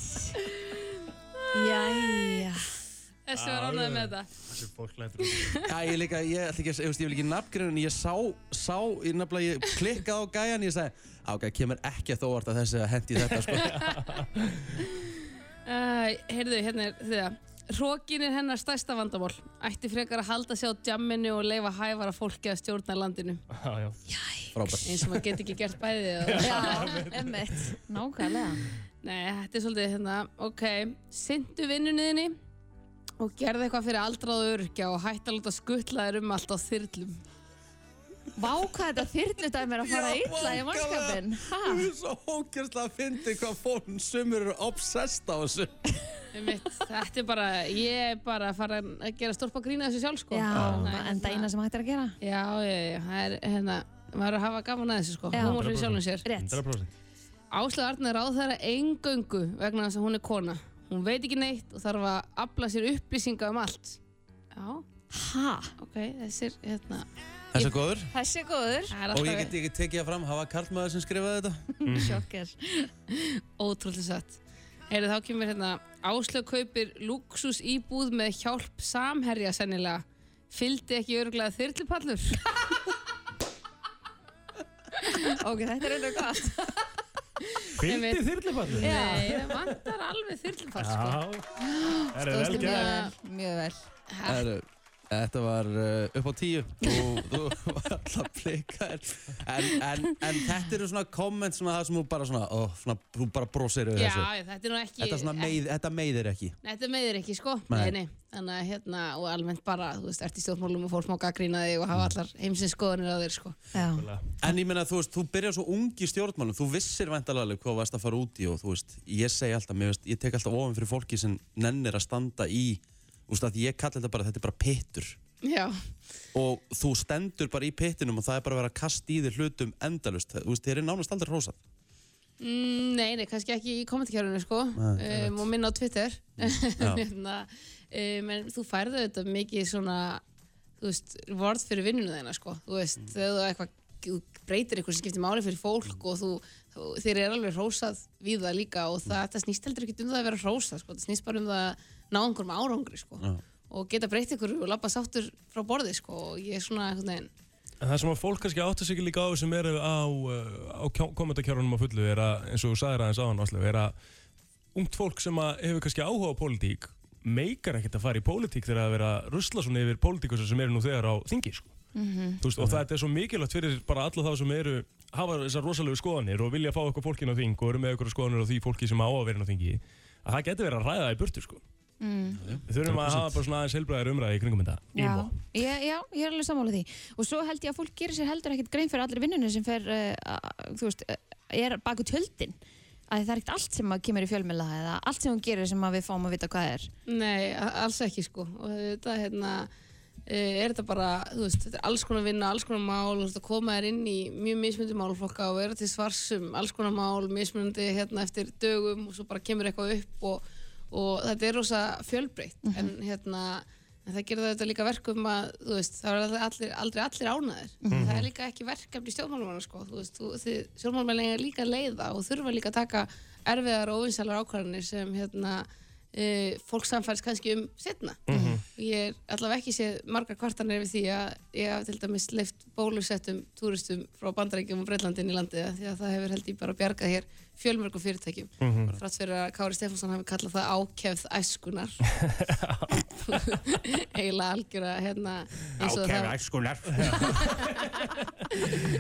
S3: Jæja
S5: þessi var
S4: Á,
S5: ánægð
S4: já, já.
S5: með þetta
S4: Þessi fólk lætur undir.
S2: Já, ég líka, ég ætla ekki að, ég veist, ég vil ekki nafngrinn en ég sá, sá, ég nefnilega, ég klikkað á gæjan ég sagði, ágæð, kemur ekki að þó orða þessi að hendi í þetta, *laughs* sko
S5: uh, heyrðu hérna er þetta Rókin er hennar stærsta vandamál ætti frekar að halda sig á djamminu og leifa hæfara fólki að stjórna landinu
S4: Já, já.
S2: Frábært
S5: eins og maður geti ekki gert bæði og
S3: Já, emmitt Nákvæmlega
S5: Nei, þetta er svolítið hérna, ok, syndu vinnunniðinni og gerði eitthvað fyrir aldrað og örgja og hætti að láta skuttla þér um allt á þyrlum.
S3: Vá hvað þetta þyrludæmi er að fara illa í mannskapin
S2: Þú
S3: Ha?
S2: er svo ógjörnslega að fyndi hvað fólk sumur eru obsessed á þessu
S5: Einmitt, þetta er bara, ég er bara að fara að gera stórpa grína þessu sjálf, sko. Þannig
S3: Já,
S5: að,
S3: en það eina sem hægt er að gera
S5: Já, já, já, það er, hérna, maður er að hafa gaman að þessu, sko,
S3: Já.
S5: hún fyrir sjálfum sér.
S3: Rétt
S4: 100%.
S5: Áslaug Arna er á þeirra engöngu vegna þess að hún er kona. Hún veit ekki neitt og þarf að afla sér upplýsinga um allt. Já,
S3: Ha?
S5: ok, þessir, hérna,
S2: Þessi góður
S3: Þessi er góður
S5: það er
S2: Og
S5: alltaf...
S2: ég get, ég get tekið það fram, hafa karlmaður sem skrifaði þetta
S3: Sjokker
S5: Ótrúlega satt. Heyrðu, þá kemur hérna, Áslaug kaupir luxus íbúð með hjálp samherja sennilega. Fyldi ekki öruglega þyrlupallur?
S3: Ok, þetta er eitthvað gott
S5: Einmitt.
S4: Fylgdi þyrlifallu.
S5: Nei, það vantar alveg þyrlupall, sko.
S4: Já. Það er vel
S5: Mjög
S4: gert.
S5: vel,
S3: mjög vel
S5: Ha,
S2: Herru, Þetta var uh, upp á tíu og þú var alltaf plikar en, en, en þetta eru svona komment svona það sem þú bara svona, ó, svona þú bara brosir yfir
S5: Já,
S2: þessu
S5: já, þetta er nú ekki...
S2: Þetta, svona meið, þetta meiðir ekki
S5: Nei, Þetta meðir ekki, sko. Nei.
S2: Nei.
S5: nei, Þannig að hérna, og almennt bara, þú veist, ert í stjórnmálum og fólk má gaggrína þig og hafa allar heimsins skoðanir á þér, sko.
S3: Já,
S2: En ég meina, þú veist, þú byrjar svo ung í stjórnmálum þú vissir væntanlega alveg hvað þú varst að fara út í og þú veist, ég segi alltaf, mér veist, ég tek alltaf ofan fyrir fólki sem nennir að standa í þú veist, að ég kalla þetta bara, þetta er bara pittur
S5: Já,
S2: og þú stendur bara í pittinum og það er bara að vera að kasta í þér hlutum endalust, þú veist, þér er nánast aldrei hrósað
S5: Mm, Nei, nei, kannski ekki í kommentarkjörunni sko um, og minna á Twitter
S2: Mm, Já.
S5: *laughs* hérna, um, en þú færðu þetta mikið svona þú veist, vörð fyrir vinnunum þeina sko þú veist,
S2: Mm.
S5: þegar þú eitthvað þú breytir eitthvað sem skiptir máli fyrir fólk og þú, þú, þeir eru alveg hrósað við það líka og það,
S2: Mm.
S5: það snýst heldur ekki um það að vera hrósað sko, það snýst bara um það að ná einhverjum árangri sko
S2: Já.
S5: og geta breytt ykkur og labba sáttur frá borði sko og ég er svona einhvern veginn
S4: En það sem að fólk kannski áttu sig ekki líka á sem eru á, uh, á kommentarkjörunum á fullu er að, eins og þú sagðir aðeins á hann Áslu, er að ungt fólk sem að hefur kannski áhuga á pólitík meikar ekkert að fara í pólitík þegar að vera að rusla svona yfir pólitíkusar sem eru nú þegar á þingi sko. Þú veist, og þetta er svo mikilvægt fyrir bara alla þá sem eru hafa þessar rosalegu skoðanir og vilja fá eitthvað fólkin á þing og eru með eitthvað skoðanir á því fólki sem á að vera inn á þingi að það getur verið að ræða það í burtu sko. mm. Við þurfum að hafa bara svona aðeins heilbræðar umræði í kringum þetta
S3: Já,
S4: Ímó.
S3: ég, já, ég er alveg sammála því og svo held ég að fólk gerir sér heldur ekkert grein fyrir allir vinnunni sem fer, uh, að- þú veist, uh, er baku tjöldin að það er ekkert allt sem að kemur í fjölmjöla eða allt sem hún gerir sem að við fáum að vita hvað er
S5: Nei, a- alls ekki sko og þetta hérna eh, er þetta bara, þú veist, þetta er alls konar vinna alls konar mál, þú veist, að koma þér inn í mjög mismunandi málflokka og vera til svarsum alls konar mál, mismunandi hérna eftir dögum og svo bara kemur eitthvað upp og, og þetta er rosa fjölbreytt en hérna en það gerir það auðvitað líka verkum að þú veist, það er allir, aldrei allir ánaðir það er líka ekki verkefni stjórnmálumanna sko, þú veist, þú- þið stjórnmálumanna er líka að leiða og þurfa líka að taka erfiðar og óvinsælar ákvarðanir sem hérna uh, fólk samfærs kannski um setna. Ég er allavega ekki séð margar kvartanir við því að ég haf til dæmis leift bólusettum túristum frá Bandaríkjum og Breitlandin í landið af því að það hefur held ég bara bjargað hér fjölmörgum fyrirtækjum mm frátt fyrir að Kári Stefánsson hafi kallað það ákefð æskunar *laughs* eiginlega algjöra hérna eins og það
S6: æskunar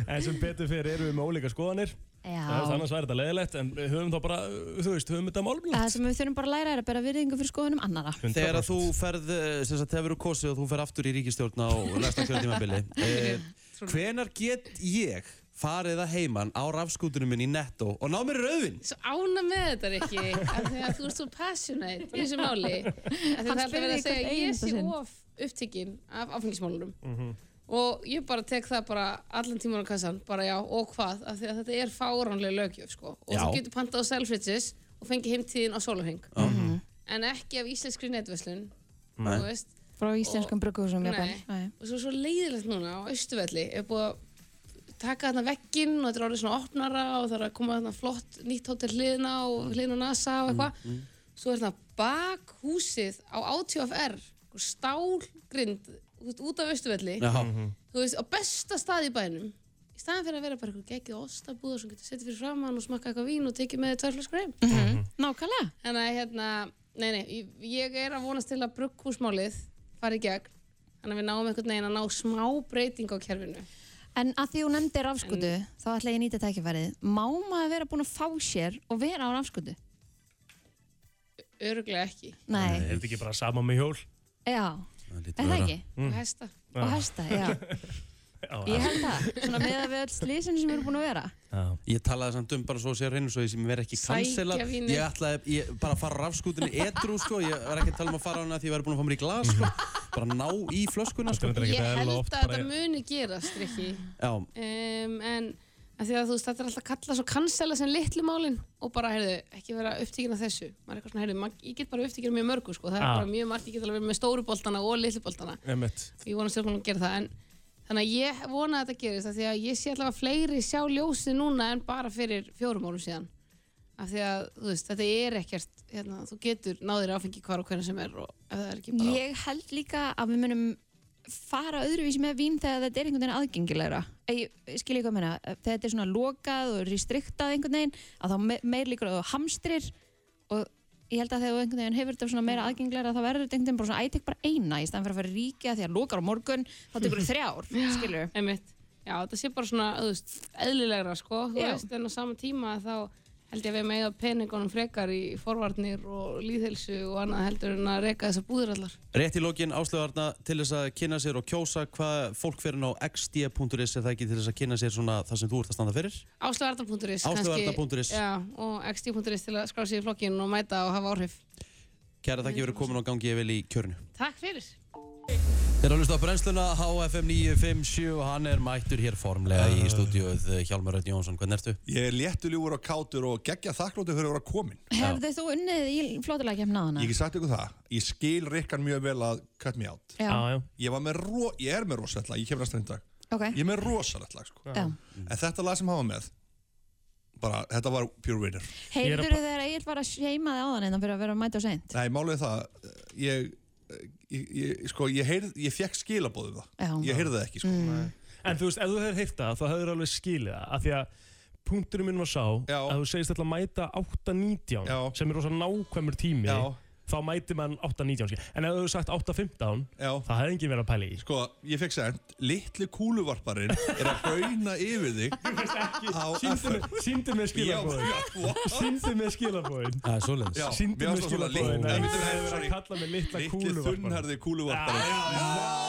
S4: En sem betur fyrir erum við með ólíka skoðanir Það er
S3: Já,
S4: annars væri þetta leiðilegt en við höfum þá bara, þú veist, höfum þetta málumlegt
S3: það sem við þurfum bara að læra er að bera virðingu fyrir skoðunum annara
S2: Þegar að þú ferð, eh, sem sagt, þegar þú kosið og þú ferð aftur í ríkistjórn á næsta kjörtímabili eh, Hvenar get ég farið að heiman á rafskútunum minn í netto og ná mér rauðin?
S5: Svo ána með þetta, Rikki, af því að þú ert svo passionate í þessu máli. Af því
S3: Hann
S5: það er alltaf
S3: spurði
S5: verið að segja
S3: hvern
S5: að ég
S3: einasta
S5: sé
S3: sinn.
S5: of upptikinn af áfengismálunum. Og ég bara tek það bara allan tíman á kassan, bara já, og hvað, af því að þetta er fáránlega lögjöf, sko. Og
S2: Já.
S5: þú getur pantað á Selfridges og fengið heimtíðin á Sólaheng. En ekki af íslenskri netverslun, þú veist.
S3: frá íslenskum brugghúsum jafnvel.
S5: Nei.
S3: Nei.
S5: Og svo svo leiðilegt núna á Östuvelli er búið að taka þarna vegginn og þetta er orðið svona opnara og það er að koma þarna flott nýtt hótel hliðina og hliðina á NASA og eitthvað. Svo er þarna bakhúsið á ATFR, einhver stálgrind þú veist, út af Östuvelli,
S2: Mhm. Já,
S5: þú veist, á besta stað í bænum. Í staðan fyrir að vera bara eitthvað geggið ostabúða sem getur setið fyrir framann og smakka eitthvað vín og tekið með tværflaskur heim.
S3: Mm, Nákvæmlega
S5: Þannig að hérna, nei, nei, ég- ég er að vonast til að brugghúsmálið fari í gegn. Þannig að við náum einhvern veginn að ná smá breyting á kerfinu.
S3: En að því hún nefndi rafskutu, þá ætla ég að nýta tækifærið Má maður vera búin að fá sér og vera á rafskutu?
S5: Öruglega ekki.
S3: Nei,
S4: Er þetta ekki bara sama með hjól?
S3: já,
S2: það
S3: er
S2: lítur
S3: það
S2: að vera.
S3: ekki?
S4: Mm.
S5: Og hesta.
S3: Og hæsta, já
S4: Já,
S3: Ég held það, svona með að við öll slísin sem eru búin að vera
S4: já.
S2: Ég talaði samt um bara svo að sé hreinu svo ég sem verið ekki
S5: Sækja
S2: kanselað
S5: vínið.
S2: Ég ætlaði ég, bara að fara rafskútunni edru sko Ég var ekki að tala um að fara á hana því ég væri búin að fá mér í glas sko Bara ná í flöskuna sko
S4: Þetta er
S5: Ég
S4: ekkert
S5: held
S4: eðlilega
S5: að
S4: oft
S5: þetta
S4: bara-
S5: muni gerast, Rikki.
S2: Já,
S5: Um, en að því að þú veist, þetta er alltaf kallað svo kansella sem litlu málin og bara, heyrðu, ekki vera upptíkin af þessu. Maður er eitthvað svona, heyrðu, ma- ég get bara upptíkin af mjög mörgu, sko. Það er
S4: Já.
S5: bara mjög margt, ég get alveg verið með stóru boltana og litlu boltana.
S4: Einmitt.
S5: ég vona stjórnmálum að gera það en þannig að ég vona að þetta gerist af því að ég sé allavega fleiri sjá ljósið núna en bara fyrir fjórum árum síðan af því að þú veist, þetta er ekkert hérna, þú getur náðir áfengi hvar og hvernig sem er og ef það er ekki bara
S3: Ég held líka að við munum fara öðruvísi með vín þegar þetta er einhvern veginn aðgengilegra ég, ég skil ég hvað meina, þegar þetta er svona lokað og restriktað einhvern veginn að þá me meir líkur að þú hamstrir og ég held að þegar þú einhvern veginn hefur þetta svona meira aðgengilegra þá verður þetta einhvern veginn bara svona ætek bara eina í staðan fyrir að fara í ríkja því að lokar á morgun þá tekur þú þrjár, skilur
S5: einmitt, já þetta sé bara svona þú veist, eðlilegra sko, þú
S3: Já.
S5: veist en á sama tíma þá held ég að við með peningunum frekar í forvarnir og líðhelsu og annað heldur en að reka þessar búður allar
S2: rétt í lokin áslöðarna til þess að kynna sér og kjósa hvað fólk fyrir á xd.is er það ekki til þess að kynna sér svona það sem þú ert að standa fyrir
S5: Áslöfarda.is
S2: Áslavarna.is.
S5: og xd.is til að skrá sig í flokkin og mæta og hafa áhrif
S2: Kæra þakki fyrir komin og gangi ég vel í kjörnu
S5: Takk fyrir
S2: Þeir að hlusta á brennsluna HFM 957 og hann er mættur hér formlega í stúdíuð Hjálmar Rödd Jónsson, hvernig ertu?
S6: Ég er léttuljúur og kátur og geggja þakklóti fyrir að vera komin
S3: Hefðu þú unnið í flótulega kemna hana?
S6: Ég get sagt ykkur það, ég skil Rikkan mjög vel að cut me out
S3: Já,
S4: Já, já.
S6: Ég, var með ro, ég er með rosalett lag, ég kemur næsta einn dag
S3: ok
S6: Ég er með rosalett lag sko.
S3: Já.
S6: En þetta lag sem hafa með bara, þetta var pure winner
S4: Ég er að
S3: Heyrður
S4: ba-
S3: þegar Egil var að seima þig á þannig fyrir að vera að mæta og seint?
S6: Nei, málið er það eh, ég, ég, ég, sko, ég, heyrð, ég fekk skilabóðum það
S3: Já.
S6: Ég heyrði það ekki sko.
S4: En þú veist, ef þú hefur heyrt það, þá hefur alveg skilið það af því að punkturinn minn var sá
S6: Já.
S4: að þú segist alltaf að mæta 8.19
S6: Já.
S4: sem er rosa nákvæmur tími
S6: Já.
S4: þá mæti mann 8-19 skilur. en ef þú hefur sagt 8-15
S6: Já,
S4: það hefði engin verið að pæla í
S6: sko, ég fekk sent Littli kúluvarparinn er að hrauna yfir þig á FM
S4: Sýndu mér
S6: Já,
S4: skilabóðin Sýndu mér skilabóðin
S2: Það er svoleiðis.
S6: *laughs* já,
S4: Sýndu
S6: mér
S4: mér
S6: fannst það svona
S4: skilabóðin
S6: litla-
S4: Það er
S6: Nei, nei,
S4: verið að
S6: sorry.
S4: kalla mig litla
S6: Littli
S4: kúluvarpar
S6: þunnharði kúluvarparinn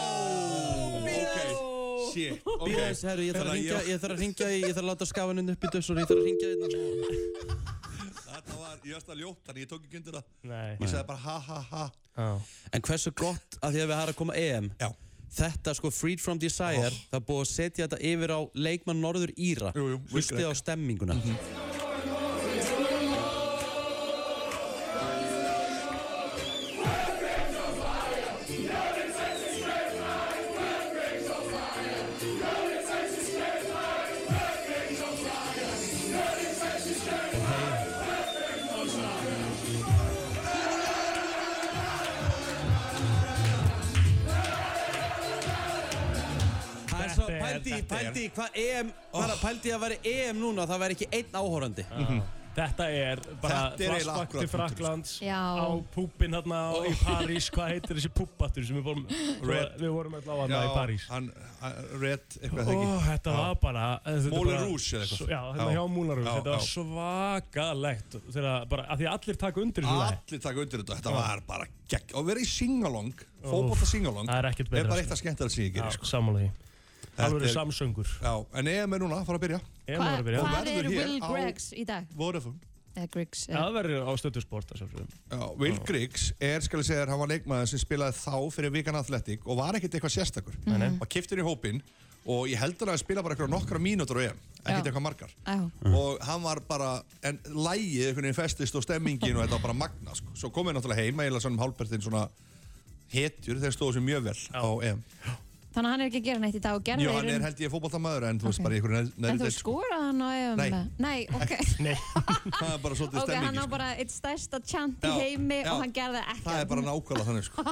S6: Ok, shit ok.
S2: Bíða þess, herru, ég þarf að
S6: Hérna,
S2: ringja,
S6: ég-
S2: ég þarf að ringja, í- ég þarf að láta skafan upp í dössur, ég þarf að ringja hérna.
S6: Þetta var, ég varst að ljóta, þannig ég tók ekki undir það
S4: Nei
S6: Ég sagði bara ha ha ha
S4: Já.
S2: En hversu gott að því að við har að koma EM,
S6: Já,
S2: þetta sko Freed From Desire, það er búið að setja þetta yfir á leikmann Norður Íra,
S6: Jú, jú, Will
S2: hlustið á stemminguna. Það er svo,
S4: Þetta er-
S2: pældi, í-
S4: þetta er-
S2: pældi, í hvað EM, bara pældi í að vera EM núna, það væri ekki einn áhórandi.
S4: Þetta er bara
S6: Þetta er eiginlega
S4: flashback
S6: akkurat sko.
S4: til Fraklands
S3: Já.
S4: á púbin hérna á- í París, hvað heitir þessi púbattur sem við vorum,
S6: Red.
S4: við vorum alltaf á hana í París
S6: hann, hann Red, eitthvað
S4: Ó,
S6: það ekki
S4: þetta var bara þetta er
S6: Moulin
S4: bara-
S6: Rouge eða eitthvað.
S4: Svo- Já, hérna
S6: Já.
S4: hjá Múlarús, þetta
S6: Já,
S4: var
S6: já.
S4: svakalegt þegar bara, að því að allir taka undir þessu lagi
S6: Allir taka undir þetta, þetta var bara gegg Og verið í singalong, fótbolta singalong
S4: það er ekkert
S6: Er
S4: betra,
S6: bara
S4: sko.
S6: eitt að skemmta það sem ég gerir
S4: Já,
S6: sko.
S4: sammála því Alveg
S6: Þetta er-
S4: samsöngur
S6: Já, en EM er núna að fara að byrja
S4: Ef
S3: Hva,
S4: maður er að byrja.
S3: hvað
S6: verður
S3: er
S6: hér
S3: Will
S6: á-
S3: Greggs í dag?
S6: Vodafone
S3: Eða Griggs?
S4: Já,
S3: eða-
S4: Það verður á stöðu sport að sjálfsögum.
S6: Já, Will Griggs er, skal ég segja þér, hann var leikmaður sem spilaði þá fyrir Vikan Athletic og var ekkert eitthvað sérstakur
S4: nei.
S6: Var kiptur í hópinn og ég heldur að hann spila bara eitthvað nokkra mínútur á EM Ekkert
S3: Já.
S6: eitthvað margar
S3: Já.
S6: Mm. og hann var bara, en lægið einhvern veginn festist og stemmingin og þetta var bara magna sko. svo komið náttúrulega heima, ég laði svona um Hálbertin svona hetjur, þeir stóðu sér mjög vel á EM.
S3: Þannig að hann er ekki að gera neitt í dag og gerði
S6: Jú,
S3: í
S6: hann er
S3: raun-
S6: held ég fótboltamaður en þú veist
S3: Ok.
S6: bara í einhverju neðri-
S3: En
S6: neðri
S3: þú
S6: deild, sko.
S3: skoraði hann á EM?
S6: Nei.
S3: Nei, ok.
S4: Nei,
S6: það er bara svolítið
S3: Ok, hann
S6: stemmingi
S3: á
S6: sko.
S3: bara eitt stærsta chant í
S6: Já,
S3: heimi
S6: já.
S3: og hann gerði ekki.
S6: það er bara nákvæmlega þannig sko.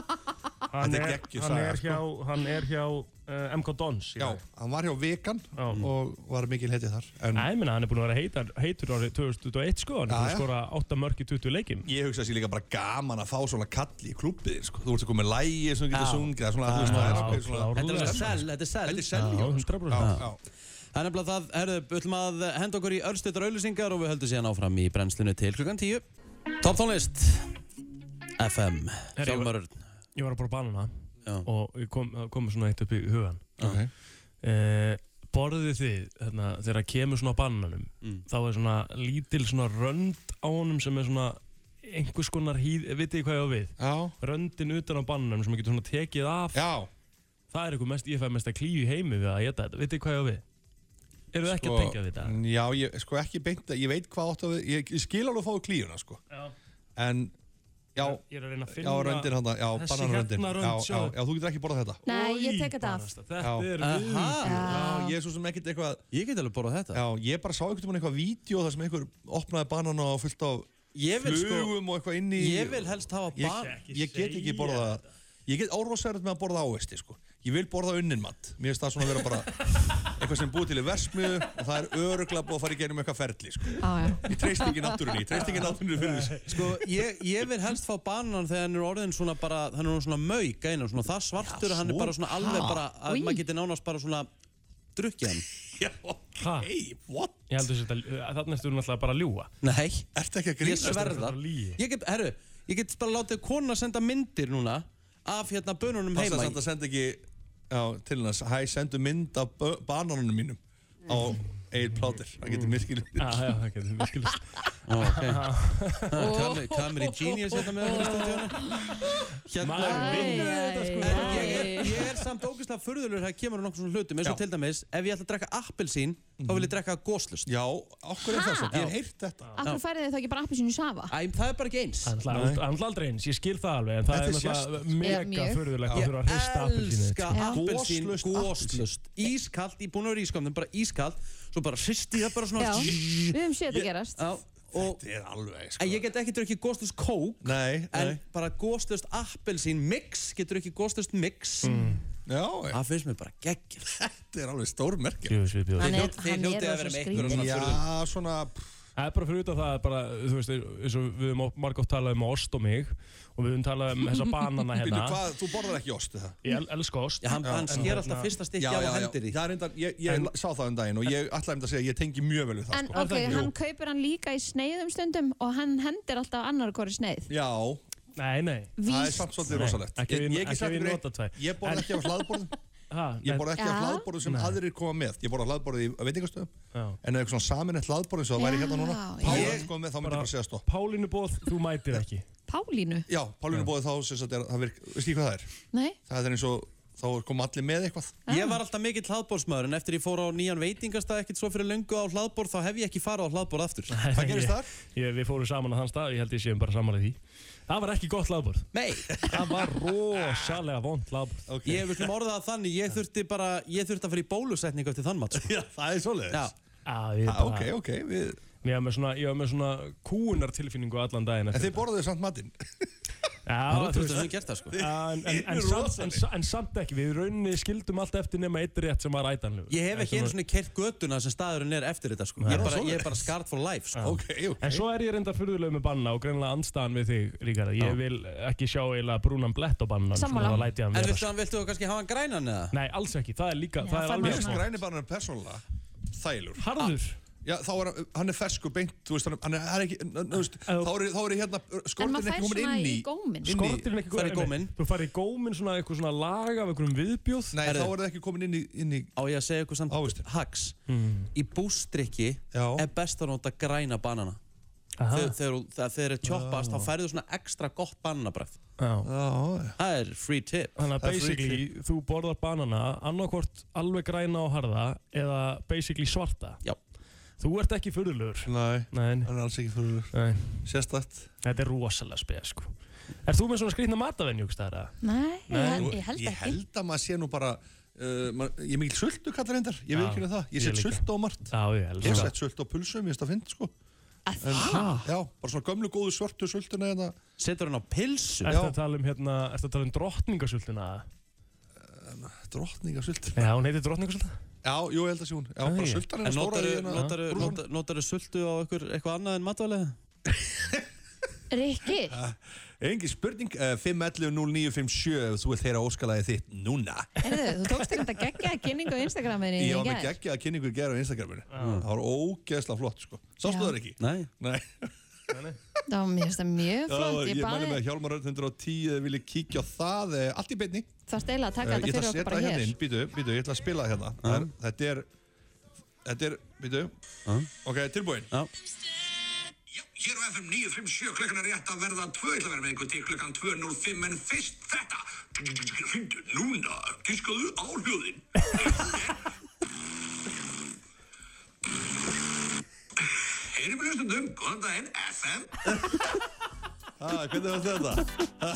S4: hann
S6: Þetta er
S4: er,
S6: geggjuð
S4: hann
S6: saga,
S4: er
S6: sko.
S4: hjá, hann er hjá uh, MK Dons í
S6: já,
S4: dag.
S6: hann var hjá Vikan
S4: Já.
S6: og var mikil hetið þar en
S4: Nei, minna, hann er búin að vera heitar, heitur árið 2021 sko, hann er búin
S6: Já,
S4: að
S6: já.
S4: skora 8 mörg í 20 leikim
S6: ég hugsa sér líka bara gaman að fá svona kalli í klubbiðin sko. þú ert að koma með lægi sem þú getur
S2: Já.
S6: sungið eða svona, þú veist, það er
S4: Já,
S6: ákveðið svona
S4: klárlega.
S2: Þetta er alveg sel, þetta er sel.
S6: Þetta er
S4: Já,
S6: sel, já, sko.
S4: 100%
S6: Já,
S4: Já.
S6: já.
S2: Það er nefnilega það, herðu, við ætlum að henda okkur í örstuttar auðlýsingar og við höldum síðan áfram í brennslinu til klukkan 10. Top tónlist, FM,
S4: Herri, ég var-
S2: Hjálmarörn.
S4: Ég var að borða banana
S2: Já.
S4: og ég kom, það kom mér svona eitt upp í hugan
S6: Ok.
S4: uh, Borðið þið hérna, þegar kemur svona á bananum þá er svona lítil svona rönd á honum sem er svona einhvers konar hýð, vitið þið hvað ég á við
S6: já,
S4: röndin utan á bananum sem maður getur svona tekið af
S6: já
S4: það er eitthvað mest, ég fæði mest að klíu í heimi við að geta þetta, vitið þið hvað ég á við eru þið ekki að tengja við þetta?
S6: Sko, já, ég, sko ekki beint að- ég veit hvað áttu að við ég, ég skil alveg að fá klíuna sko.
S4: Já.
S6: en já,
S4: Ég er að reyna að
S6: já,
S4: finna
S6: röndin hann já,
S4: Þessi
S6: bananröndin
S4: hérna rönd,
S6: já, já,
S4: sjáðu.
S6: já, þú getur ekki borðað þetta
S3: Nei,
S4: Oj,
S3: ég tek þetta af.
S4: barasta, Þetta
S6: Já.
S4: er við
S2: Aha,
S6: já, ég er svo sem ekkert eitthvað
S2: ég get alveg borðað þetta.
S6: Já, ég bara sá einhvern veginn eitthvað vídeo þar sem einhver opnaði banana og fullt af
S2: Ég vil sko,
S6: flugum og eitthvað inn í
S2: ég vil helst hafa
S6: ég,
S2: bara,
S6: ég get ekki borða Ég get árvásærið með að borða ávesti sko. Ég vil borða unnin mat Mér finnst það svona
S4: *laughs*
S6: að vera bara eitthvað sem er búið til í versmiðu og það er öruglega búið að fara í gerum eitthvað ferli sko.
S3: Já, já.
S6: Ég treyst ekki náttúrunni, ég treyst ekki náttúrunni fyrir þessu
S2: sko, ég, ég vil helst fá banan þegar hann er orðin svona bara, hann er orðin svona mauk, einu, svona það svartur, hann er
S6: svo-
S2: bara svona alveg bara, að
S3: Í.
S2: maður geti nánast bara svona drukkið hann.
S6: Já, ok,
S4: Ha?
S6: what?
S4: Ég heldur þess að þannig ertu náttúrulega bara að ljúa
S2: Nei.
S6: Ertu ekki að
S2: ég
S6: grínast?
S2: sverða
S4: bara lygi.
S2: ég get, herru, ég get bara látið kona senda myndir núna af hérna bönunum
S6: Passa
S2: heima
S6: samt að senda ekki já, til hans, hæ, sendu mynd af bö- bananunum mínum á Egil Plátir, það getur miskilið
S4: Já, já, það getur við skilast
S2: Ó,
S4: *laughs*
S2: ok Kameri Genius hérna með okkur í stúdíónu hérna
S4: Maður vinnur þetta sko
S2: En ég er, ég er samt ógeðslega furðulur þegar kemur á nokkur svona hlutum eins og
S6: Já.
S2: til dæmis, ef ég ætla að drekka appelsín
S4: Mhm.
S2: þá vil ég drekka goslust
S6: Já, okkur er það svo, ég hef heyrt þetta
S3: Akkur færið þið þá ekki bara appelsinu safa?
S2: Æ, það er bara ekki eins
S4: Það er náttúrulega aldrei- aldrei eins, ég skil það alveg en það er
S6: Þetta er
S4: náttúrulega
S3: Já,
S4: mega
S3: mjög.
S4: förðulegt að
S2: Ég
S4: þurfa að hrista appelsínu
S2: elska
S3: Já.
S2: appelsín,
S6: Goslaust
S2: goslust Ískalt, ég er búin að vera ískamðum, bara ískalt Svo bara hristi það bara
S3: Já,
S2: svona
S3: við höfum séð þetta gerast.
S2: Já, og
S6: Þetta er alveg, sko.
S2: En ég get ekki drukkið góðslust kók
S6: Nei,
S2: En
S6: nei
S2: bara góðslust appelsín mix Getur ekki góðslust mix
S4: Mm.
S6: Já,
S2: Það finnst mér bara geggjur
S6: þetta er alveg stór merkja
S4: Jöfus við bjóðum
S3: Hann er,
S2: hljótið- þið
S3: hann er
S2: hljótið að
S3: rosa
S2: vera með einhverja
S3: skrítið.
S2: svona-
S6: Já, svona pff,
S4: Það er bara fyrir utan það, að bara, þú veist, eins og við höfum margótt talað um ost og mig og við höfum talað um þessa banana *laughs*
S6: Býtu,
S4: hérna.
S6: hvað, þú borðar ekki ost er það?
S4: Ég el, elska ost.
S2: Já, hann, hann
S4: en
S2: sker
S4: hérna-
S2: alltaf fyrsta stykki á hendir í
S6: Það er reyndar, ég, ég sá það um daginn og ég ætlaði einmitt að segja, ég tengi mjög vel við það,
S3: En
S6: sko.
S3: ok,
S4: Jú.
S3: hann kaupir hann líka í sneiðum stundum og hann hendir alltaf annar hvori sneið.
S6: Já,
S4: Nei, nei.
S6: það er
S3: Víst,
S6: samt svolítið
S4: Nei,
S6: rosalegt.
S4: ekki
S6: Ég-
S4: við-
S6: ég
S4: ekki
S6: get sagt
S4: við
S6: ykkur eitt,
S4: nota tvær.
S6: Ég borða ekki af hlaðborðum,
S4: Ha,
S6: ég borða ekki af
S3: Já.
S6: hlaðborðum sem aðrir koma með. Ég borða af hlaðborðið í veitingastöðum,
S4: Já.
S6: en ef eitthvað svona saminett hlaðborðum sem það væri hérna núna,
S3: Já,
S6: Pála
S3: já.
S6: koma með, þá myndi ég bara segja stopp.
S4: Pálínu bóð, þú mætir
S2: *laughs*
S4: ekki.
S3: Pálínu?
S6: Já, Pálinu bóði þá, sem sagt, er, það virk, veistu ekki hvað það er?
S3: Nei?
S6: Það er eins og, þá kom allir með eitthvað.
S2: Ég var alltaf mikill hlaðbórsmaður en eftir ég fór á nýjan veitingastað ekkert svo fyrir löngu á hlaðbór þá hef ég ekki farið á hlaðbór aftur.
S4: *laughs*
S6: Hvað
S4: Ég-
S6: gerist þar?
S4: Ég, við fórum saman á þann stað, ég held ég séum bara samanlega því. Það var ekki gott laðbord.
S2: Nei,
S4: Það
S2: *laughs*
S4: var rosalega vond laðbord.
S6: Okay.
S2: ég vil orða það þannig, ég þurfti bara, ég þurfti að fara í bólusetningu eftir þann mat. Sko.
S6: Já, það er svoleiðis.
S2: Já,
S4: Ah, ég,
S6: Ah, ok, ok, við...
S4: ég var með svona, ég var með svona kúunar tilfinningu allan daginn.
S6: En þið borðuðu samt matinn?
S2: það
S4: Já,
S2: er
S4: þú
S2: ótrúlega
S4: veist,
S2: sem gert það sko.
S4: Já, en, en, en, samt, en, sa- en samt ekki, við í rauninni skildum allt eftir nema eitt rétt sem var ætanlegur.
S2: Ég hef ekki einu svona kert göduna sem staðurinn er eftir þetta sko. Ég er bara,
S6: svoleiðis.
S2: ég er bara scarred for life sko.
S6: Ok, ok.
S4: En svo er ég reyndar fyrðuleg með banna og greinlega andstaðan við þig, Ríkard. Ég vil ekki sjá eiginlega brúnan blett á banna.
S3: Sammála.
S4: Það læti hann
S2: En
S4: vera.
S2: viltu, viltu kannski hafa hann grænan eða?
S4: Nei, alls ekki. Það er líka,
S3: Já,
S4: það er
S6: Mér
S3: það
S4: alveg
S6: finnst
S4: svona.
S6: græni bananinn persónulega þægilegur.
S4: Harður.
S6: Já, þá er hann- hann er fersku beint, þú veist, hann er- hann er, hann er ekki, hann- þú veist, þá er, þá er hérna
S3: En
S6: skortin
S3: maður
S6: ekki
S3: fær
S6: komin
S3: svona
S6: inn
S3: í
S6: í.
S3: góminn. sko.
S6: inn í-
S4: Skortirinn ekki
S2: Farið í góminn.
S4: Þú farið í góminn svona eitthvað svona lag af einhverjum viðbjóð.
S6: Nei,
S2: Herðu.
S6: þá er það ekki komin inn í, inn í,
S2: Á ég að segja ykkur samt
S6: Ávextir.
S2: hacks. Í bústrykki
S6: Já.
S2: er best að nota græna banana. Þegar- Þegar þú- þegar þeir eru tjóppast þá færðu svona ekstra gott bananabræð.
S4: Já.
S6: já, já.
S2: Það er free tip.
S4: Þannig að
S6: Það er
S4: basically þú borðar banana annarkvort alveg græna og harða eða basically svarta.
S2: Já.
S4: Þú ert ekki fyrðulegur.
S6: Nei,
S4: Nei,
S6: hann er alls ekki fyrir
S4: nei.
S6: sérstætt.
S4: Þetta er rosalega spes, sko. Er þú með svona skrýtna matavenju, ekki stæðra?
S3: Nei,
S4: Nei,
S3: ég, held,
S6: Nú,
S3: ég held
S6: Ég
S3: ekki.
S6: held að maður sé nú bara, uh, man, ég er mikil sultu kallar reyndar, ég
S4: Já,
S6: vil ekki það, ég
S4: ég
S6: set
S4: líka.
S6: sultu á margt.
S4: Já, ég
S6: Ég
S4: elskar það.
S6: set sultu á pulsum, ég veist að finn, sko.
S3: Að það?
S6: Já, bara svona gömlu góðu svörtu sultuna hérna. eða,
S2: Setur hann á pilsu?
S4: Ertu
S6: Já.
S4: að tala um hérna, ertu að tala um drottningasultuna?
S6: drottningasult.
S4: Já, hún heitir drottningasulta.
S6: Já, jú, ég held að sé hún. Já, bara
S4: Æi.
S6: sultan
S2: En
S6: hérna stóra
S2: notaru,
S6: í hérna-
S2: notaru,
S6: brúsan.
S2: notaru, notaru sultu á ykkur, eitthvað annað en matvælega?
S3: Rikki,
S6: Engi spurning, uh, 5.11.09.57 ef þú vilt heyra óskalagið þitt núna.
S3: heyrðu, þú tókst þér þetta geggja kynningu á Instagraminu í
S6: Ég var með
S3: gær.
S6: geggjaða kynningu í gera á Instagraminu. Það var ógeðslega flott, sko. Sástu
S3: Já.
S6: það ekki?
S2: Nei.
S6: Nei.
S3: Það var mér finnst það mjög flott.
S6: ég
S3: Ég
S6: mæli
S3: baði,
S6: með Hjálmar Örn 110, þið viljið kíkja á það, eh, allt í beinni.
S3: það stela að
S6: Eh,
S3: taka
S6: ég
S3: þetta
S6: ætla
S3: fyrir
S6: að
S3: okkur
S6: setja
S3: bara
S6: hérna
S3: hér.
S6: inn, býtu, býtu, ég ætla að spila hérna. Það er- Þetta er, þetta er, býtu, ok, tilbúin.
S7: Já, hér er á FM 957 klukkan er rétt að verða 2 ætla að vera með einhvern til klukkan 2.05 en fyrst þetta Hringdu núna, gískaðu á hljóðin Erum við hlustundum, góðan daginn, FM
S6: Ah, hvernig var þetta?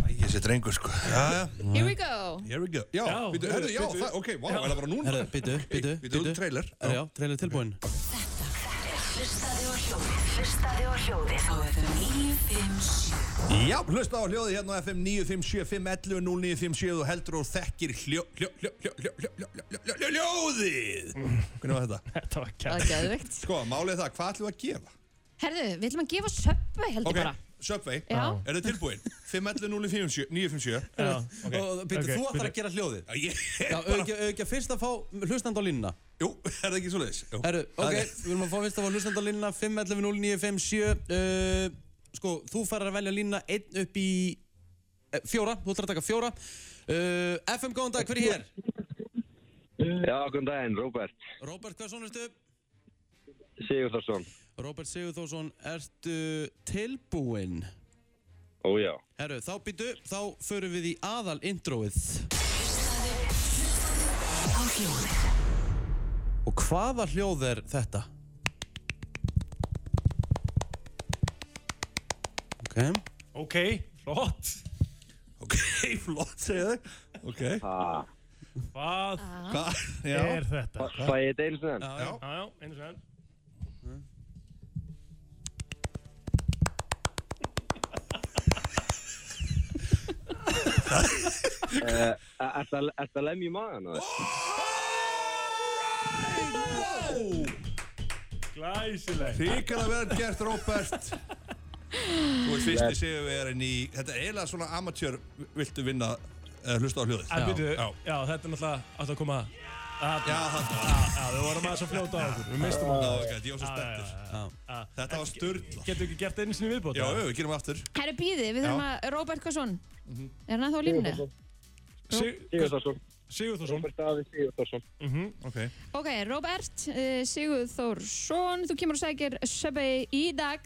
S6: Æ, ég sé drengur, sko. Já, já.
S5: Here we go
S6: Here we go. Já,
S4: Já,
S6: býtu,
S4: heyrðu,
S6: herðu, já,
S4: bíddu.
S6: það, ok, vá, er það bara núna?
S2: Herra, býtu, býtu,
S6: Býtu, trailer.
S2: Já, já trailer tilbúin.
S8: Hlustaði á hljóðið Hlustaði á hljóðið á FM 957
S6: Já, hlusta á hljóðið hérna á FM 957-511-0957 og heldur og þekkir hljó, hljó, hljó, hljó, hljó, hljó, hljó, hljó, hljó, hljóðið. Hvernig var þetta?
S4: *laughs* Þetta var
S3: Það
S4: kært.
S3: er geðvikt.
S6: Sko, málið er það, hvað ætlum við að gefa?
S3: Herðu, við ætlum að gefa söppu, held ég
S6: Ok,
S3: bara.
S6: Subway,
S3: Já.
S6: er þið tilbúin? 511-0957.
S4: Já,
S2: Okay. Og býtu,
S4: Ok,
S2: þú ætlar
S4: bíddu.
S2: að gera hljóðið.
S6: Já, ég,
S2: Já, auðvitað auðvitað fyrst að fá hlustandi á línuna.
S6: jú, er það ekki svo leiðis?
S2: Herru, ok, við erum að fá fyrst að fá hlustandi á línuna 511-0957. Uh, sko, þú færir að velja línuna 1 upp í eh, fjóra, þú ætlar að taka fjóra. Uh, FM, góðan dag, hver er hér?
S9: Já, góðan daginn, Róbert
S2: Róbert, hversson ertu?
S9: Sigurðarsson.
S2: Róbert Sigurþórsson, ertu tilbúinn?
S9: Ó já.
S2: Herru, þá býtu, þá förum við í aðal introið.
S8: Á hljóðið
S2: Og hvaða hljóð er þetta? Ok.
S4: Ok, flott.
S6: Ok, *laughs* flott, segja þau. Ok,
S9: Ah,
S4: Hvað
S6: hvað? Já,
S4: er þetta?
S9: fæ ég þetta einu sinni enn?
S4: Já, já, einu sem enn.
S9: Eh, Er þetta lemja í magan?
S6: Alright,
S4: Glæsilegt
S6: Ríkala vel gert, Robert Þú ert fyrsti sigurvegarinn í Þetta er eiginlega svona amatjör Viltu vinna, uh, hlusta á hljóðið
S4: En byrju,
S6: Já.
S4: já, þetta er náttúrulega átt að koma að-
S6: Já, það
S4: Já, já, við vorum aðeins að fljóta á okkur Við mistum okkur
S6: Já, ok, ég var svo spenntur Þetta var sturla
S4: Getur ekki gert einu sinni viðbót?
S6: Já,
S4: eða?
S6: við við gerum aftur
S3: Herri býði, við þurfum að Róbert Kvason
S6: Mhm.
S3: Er hann að þá lífni?
S4: Sig-
S9: Sigurðarsson
S4: Sigurþórsson
S9: Robert Daði Sigurðarsson
S6: Ok
S3: Ok, Róbert uh, Sigurð Þórsson Þú kemur og sækir Söpvei í dag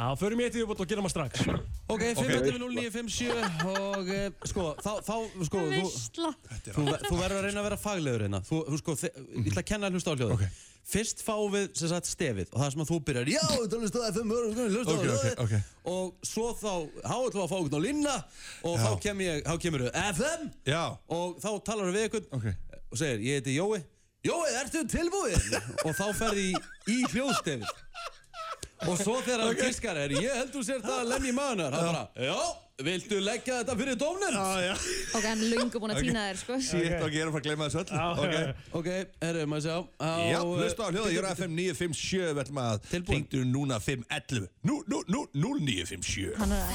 S4: Já, förum í eitt viðbót og gerum það strax
S2: Ok, 5.09.57 og eh, sko, þá, þá, sko, þú,
S3: Veistla
S2: þú, þú verður að reyna að vera faglegur hérna. Þú, þú sko, þi- ég ætla að kenna að hlusta á hljóðu. Fyrst fáum við, sem sagt, stefið og það sem að þú byrjar, já, þetta er hlusta á FM, hlusta á hlusta á
S6: Ok, ok, ok.
S2: hljóðu. Og svo þá, þá er þú að fá okkur á línna og þá,
S6: Já.
S2: kem ég, þá kemur þau FM
S6: Já
S2: og þá talar við ykkur
S6: Ok.
S2: og segir, ég heiti Jói. Jói, ertu tilbúin? og þá ferði í hljóðstefið. Og svo þegar hann fiskar er, ég held þú sér það að lemja í maðunar. Hann bara, já, viltu leggja þetta fyrir dómnum?
S6: Já, já
S3: Ok, hann er löngu búin að týna þér sko
S6: Sýtt, ok, ég er að fara að gleyma þessu öll Ok
S2: Ok, herru, maður sjá. Á,
S6: Já,
S2: eh,
S6: hlusta á hljóðið, ég er á FM 957 Við ætlum að
S2: Tilbúin.
S6: Hringdu núna 511 Nú, nú, nú, 0957
S3: Hann er að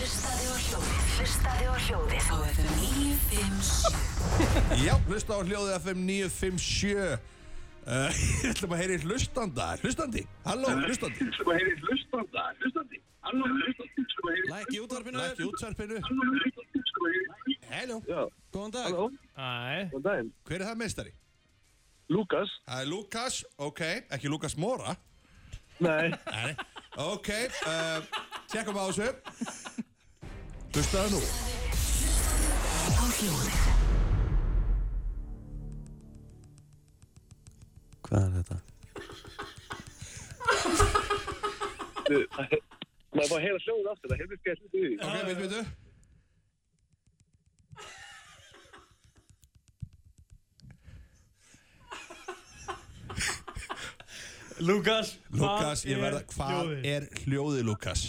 S8: Hlustaði á hljóðið, hlustaði á hljóðið á FM 957.
S6: Já, hlusta á hljóðið FM 957 Uh, *laughs* Við ætlum að heyri hlustanda Hlustandi, halló, hlustandi
S7: Sem að hefði hlustanda, Sko, hlustandi, annar hlustandi sem að hefði
S2: Lækki í útvarpinu.
S6: Lækki útsvarpinu
S7: hlustandi Sko, sem að hefði
S6: Hello,
S2: Góðan dag.
S4: Æ,
S9: Góðan daginn
S6: hver er það meistari?
S9: Lukas
S6: Það er Lukas, ok, ekki Lukas Mora
S9: Nei
S6: Nei, ok uh, Tjekkum á þessu Hlustaðu nú
S8: Á hljóðið,
S2: Hvað er þetta?
S9: Maður bara heyra hljóðið aftur, það hefði skemmt í því
S6: Ok, veitum við
S4: Lukas
S6: Lukas, ég verða, hvað er hljóðið, Lukas?